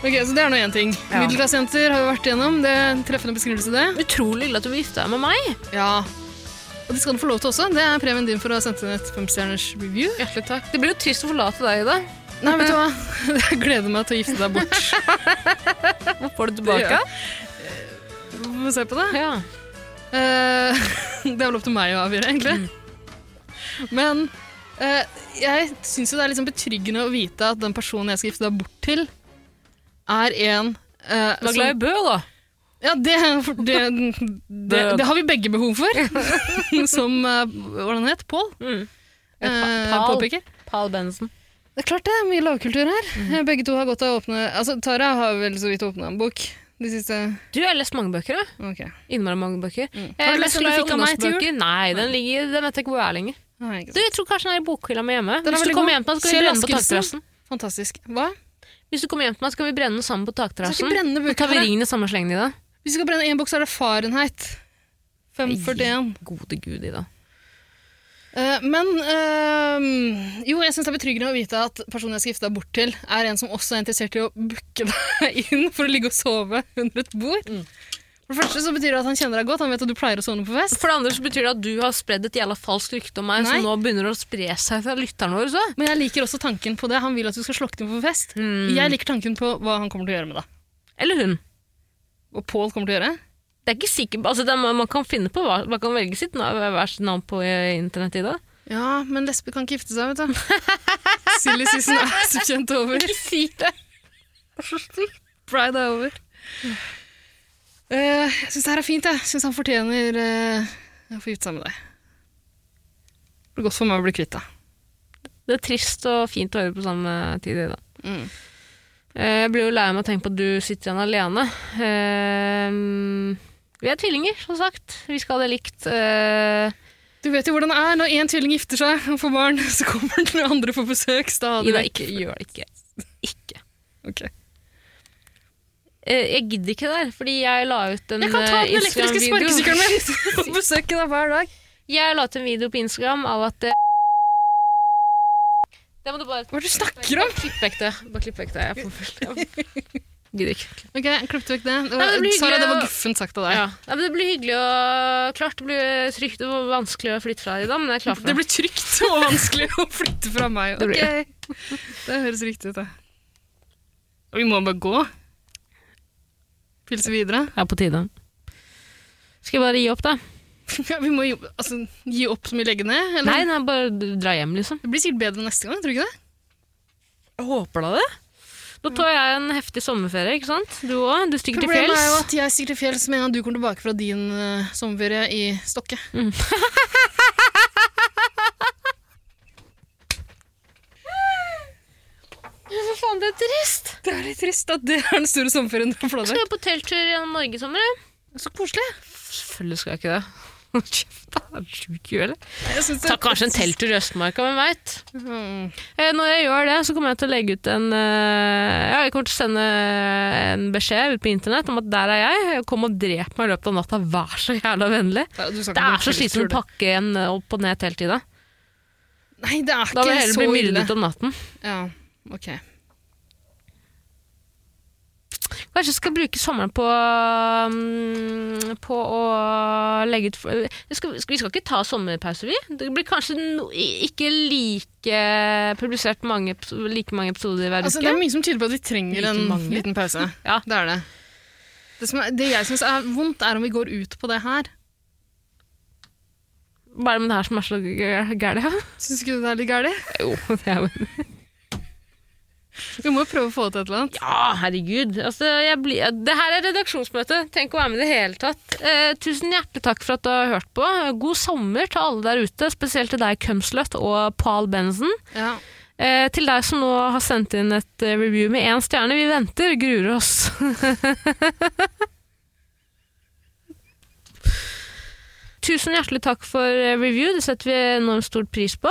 Speaker 3: Ok, Så det er nå én ting.
Speaker 2: Ja.
Speaker 3: Middelklassejenter har vi vært igjennom. Det er en treffende beskrivelse, det.
Speaker 2: Utrolig hyggelig at du vil gifte deg med meg.
Speaker 3: Ja. Og det skal du få lov til også. Det er premien din for å ha sendt inn et femstjerners review.
Speaker 2: Hjertelig takk. Det blir jo trist å forlate deg i dag.
Speaker 3: Nei, vet du hva? Jeg gleder meg til å gifte deg bort.
Speaker 2: Hvor får du
Speaker 3: Det gjør
Speaker 2: tilbake?
Speaker 3: jeg. Vi må se på det.
Speaker 2: Ja.
Speaker 3: Eh, det er vel opp til meg å avgjøre, egentlig. Men eh, jeg syns jo det er liksom betryggende å vite at den personen jeg skal gifte deg bort til, er en eh,
Speaker 2: Du er glad i
Speaker 3: som-
Speaker 2: bø, da.
Speaker 3: Ja, det, det, det, det har vi begge behov for. som eh, Hva den het Pål?
Speaker 2: Mm.
Speaker 3: eh,
Speaker 2: Pal.
Speaker 3: påpeker.
Speaker 2: Pal Bensen.
Speaker 3: Det er klart det er mye lavkultur her.
Speaker 2: Mhm.
Speaker 3: Begge to har godt av å åpne Altså, Tara har vel så vidt åpna en bok de siste
Speaker 2: Du har lest mange bøker, da.
Speaker 3: Ok.
Speaker 2: Innmari mange bøker.
Speaker 3: Mm.
Speaker 2: Eh,
Speaker 3: Har du
Speaker 2: men
Speaker 3: lest
Speaker 2: skulle
Speaker 3: den du
Speaker 2: jeg
Speaker 3: fikk av meg til
Speaker 2: ungdomsbøker? Nei, den ligger, den vet jeg ikke hvor er lenger.
Speaker 3: Nei, ikke
Speaker 2: Du,
Speaker 3: sant.
Speaker 2: jeg tror kanskje den er i bokhylla mi hjemme.
Speaker 3: Den er
Speaker 2: Hvis du
Speaker 3: veldig
Speaker 2: kommer
Speaker 3: god.
Speaker 2: hjem til meg, så kan vi
Speaker 3: Kjell
Speaker 2: brenne den på
Speaker 3: Eskilsen.
Speaker 2: takterrassen.
Speaker 3: Fantastisk. Hva?
Speaker 2: Hvis du kommer hjem til meg, så kan vi brenne den sammen på
Speaker 3: Du skal
Speaker 2: takterrassen.
Speaker 3: ikke brenne
Speaker 2: Så tar vi
Speaker 3: bøkene.
Speaker 2: ringen i samme slengen i det.
Speaker 3: Hvis vi skal brenne én bok, så er det Fahrenheit. 541.
Speaker 2: Gode gud, Ida.
Speaker 3: Eh, men eh, jo, jeg syns det er betryggende å vite at personen jeg skal gifte deg bort til, er en som også er interessert i å booke deg inn for å ligge og sove under et bord. For det første så betyr det at han kjenner deg godt, han vet at du pleier å sovne på fest.
Speaker 2: For det andre så betyr det at du har spredd et jævla falskt rykte om meg
Speaker 3: Nei.
Speaker 2: som nå begynner å spre seg fra lytterne våre. Så.
Speaker 3: Men jeg liker også tanken på det. Han vil at du skal slokke den på fest.
Speaker 2: Mm.
Speaker 3: Jeg liker tanken på hva han kommer til å gjøre med deg.
Speaker 2: Eller hun.
Speaker 3: Og Pål kommer til å gjøre.
Speaker 2: Det er ikke sikkert, altså det, er- Man kan finne på hva man kan velge sitt na- hver sitt navn på eh, internett i dag.
Speaker 3: Ja, men lesber kan ikke gifte seg, vet du. Silly season er som kjent over.
Speaker 2: Ikke si det!
Speaker 3: Pride er over. Eh, jeg syns det her er fint, jeg. Syns han fortjener eh, å få gitt seg med deg. Det blir godt for meg å bli kvitt deg.
Speaker 2: Det er trist og fint å høre på samme tid. Da.
Speaker 3: Mm.
Speaker 2: Eh, Jeg blir jo lei meg å tenke på at du sitter igjen alene. Eh, Vi er tvillinger, som sagt. Vi skal ha det likt. Eh,
Speaker 3: Du vet jo hvordan det er når én tvilling gifter seg og får barn, så kommer den andre på besøk stadig
Speaker 2: Ida,
Speaker 3: vekk.
Speaker 2: ikke gjør det ikke. Ikke.
Speaker 3: Ok.
Speaker 2: Eh, Jeg gidder ikke det der, fordi jeg la ut en
Speaker 3: Jeg kan ta
Speaker 2: eh,
Speaker 3: den elektriske
Speaker 2: Instagram-video.
Speaker 3: sparkesykkelen min og besøke deg hver dag.
Speaker 2: Jeg la ut en video på Instagram av at eh, Det må du bare
Speaker 3: Hva er det du snakker om?
Speaker 2: klippe vekk det. Bare klipp vekk det. Jeg får først. Gidder ikke.
Speaker 3: Ok, klippet vekk det. det,
Speaker 2: Nei,
Speaker 3: var,
Speaker 2: det blir
Speaker 3: Sara,
Speaker 2: hyggelig
Speaker 3: det var
Speaker 2: å-
Speaker 3: guffent sagt av deg.
Speaker 2: Ja. Nei, men det blir hyggelig og klart. Det blir trygt og vanskelig å flytte fra i dag, men jeg er klar for
Speaker 3: Det blir trygt og vanskelig å flytte fra meg.
Speaker 2: Det
Speaker 3: Ok,
Speaker 2: blir
Speaker 3: det høres riktig ut, det. Og vi må bare gå. Pilse videre.
Speaker 2: Det er på tide. Skal jeg bare gi opp, da?
Speaker 3: Ja, vi må gi, altså, gi opp som vi legger ned. Eller?
Speaker 2: Nei, nei, bare d- dra hjem, liksom.
Speaker 3: Det blir sikkert bedre neste gang, tror du ikke det?
Speaker 2: Jeg håper da det. Nå tar jeg en heftig sommerferie, ikke sant? Du òg. Du stikker til
Speaker 3: Problemet er jo
Speaker 2: fjells.
Speaker 3: at jeg stikker til fjells med en gang du kommer tilbake fra din eh, sommerferie i Stokke.
Speaker 2: Hva faen, det er trist!
Speaker 3: Det er litt trist at det er den store sommerferien du har
Speaker 2: Jeg skal jo på telttur gjennom Norge i sommer. jeg.
Speaker 3: Så koselig.
Speaker 2: Selvfølgelig skal jeg ikke det. Hold Kjeft, da. Er du sjuk i huet?
Speaker 3: Jeg synes det-
Speaker 2: Ta kanskje en telttur i Østmarka, hvem veit?
Speaker 3: Mm.
Speaker 2: Eh, Når jeg gjør det, så kommer jeg til å legge ut en eh, ja, Jeg kommer til å sende eh, en beskjed ut på internett om at der er jeg. Kom og drep meg i løpet av natta, vær så jævla vennlig.
Speaker 3: Nei, du snakker
Speaker 2: Det er
Speaker 3: om
Speaker 2: så
Speaker 3: telttur,
Speaker 2: slitsomt
Speaker 3: det.
Speaker 2: å pakke en opp og ned teltet i det.
Speaker 3: Nei, det er ikke så
Speaker 2: Da
Speaker 3: ille.
Speaker 2: vil jeg heller bli myrdet om natten.
Speaker 3: Ja, ok.
Speaker 2: Kanskje jeg skal bruke sommeren på, mm, på å legge ut for- Vi skal, vi skal ikke ta sommerpause, vi. Det blir kanskje no, ikke like publisert mange, epis- like mange episoder hver
Speaker 3: Altså, det
Speaker 2: uke.
Speaker 3: er mye som tyder på at vi trenger
Speaker 2: Like
Speaker 3: en
Speaker 2: mange.
Speaker 3: liten pause.
Speaker 2: Ja.
Speaker 3: Det er det. Det, som er, det jeg syns er vondt, er om vi går ut på det her.
Speaker 2: Hva er det med det her som er så gæ- gærent?
Speaker 3: Syns ikke du det er litt gærent?
Speaker 2: Jo, det er jo
Speaker 3: Vi må jo prøve å få til et eller annet.
Speaker 2: Ja, herregud. Altså, jeg blir, det her er redaksjonsmøte. Tenk å være med i det hele tatt. Eh, tusen hjertelig takk for at du har hørt på. God sommer til alle der ute, spesielt til deg, Cumslut og Paul Benson.
Speaker 3: Ja.
Speaker 2: Eh, til deg som nå har sendt inn et eh, review med én stjerne. Vi venter, gruer oss. tusen hjertelig takk for eh, review. Det setter vi enormt stor pris på.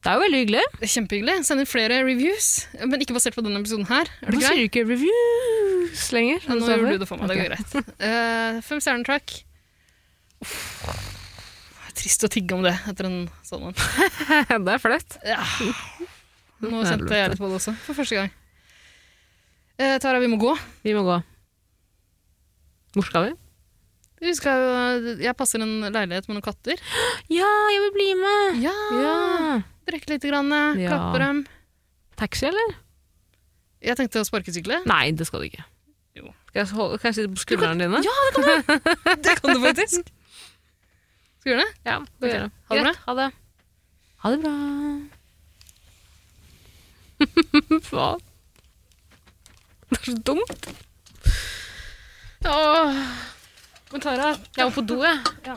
Speaker 2: Det er jo veldig hyggelig.
Speaker 3: Det er kjempehyggelig. Send inn flere reviews, men ikke basert på denne episoden her. Er det
Speaker 2: Nå
Speaker 3: greit?
Speaker 2: sier du ikke reviews lenger.
Speaker 3: Ja, Nå
Speaker 2: Sa
Speaker 3: gjør du det for meg.
Speaker 2: Ok.
Speaker 3: Det går greit. Eh, fem stjerner, takk. Uff. Det er Trist å tigge om det etter en sånn en.
Speaker 2: det er flaut.
Speaker 3: Ja. Nå kjente jeg litt på det også, for første gang. Eh, Tara, vi må gå.
Speaker 2: Vi må gå. Hvor skal vi?
Speaker 3: Vi skal, jeg passer en leilighet med noen katter.
Speaker 2: Ja, jeg vil bli med! Ah.
Speaker 3: Ja!
Speaker 2: Ja.
Speaker 3: Drikke litt, grann, eh,
Speaker 2: Ja.
Speaker 3: klappe dem.
Speaker 2: Taxi, eller?
Speaker 3: Jeg tenkte å sparkesykle.
Speaker 2: Nei, det skal du ikke.
Speaker 3: Jo.
Speaker 2: Skal jeg, holde, kan jeg sitte på skuldrene dine? Ja,
Speaker 3: Det kan du faktisk. Skal vi gjøre det?
Speaker 2: det
Speaker 3: Ok.
Speaker 2: gjør jeg.
Speaker 3: Ha det bra.
Speaker 2: Greit, Ha det. Ha det bra. Faen. Det er så dumt. Åh,
Speaker 3: Men Tara,
Speaker 2: jeg må på do, jeg.
Speaker 3: Ja.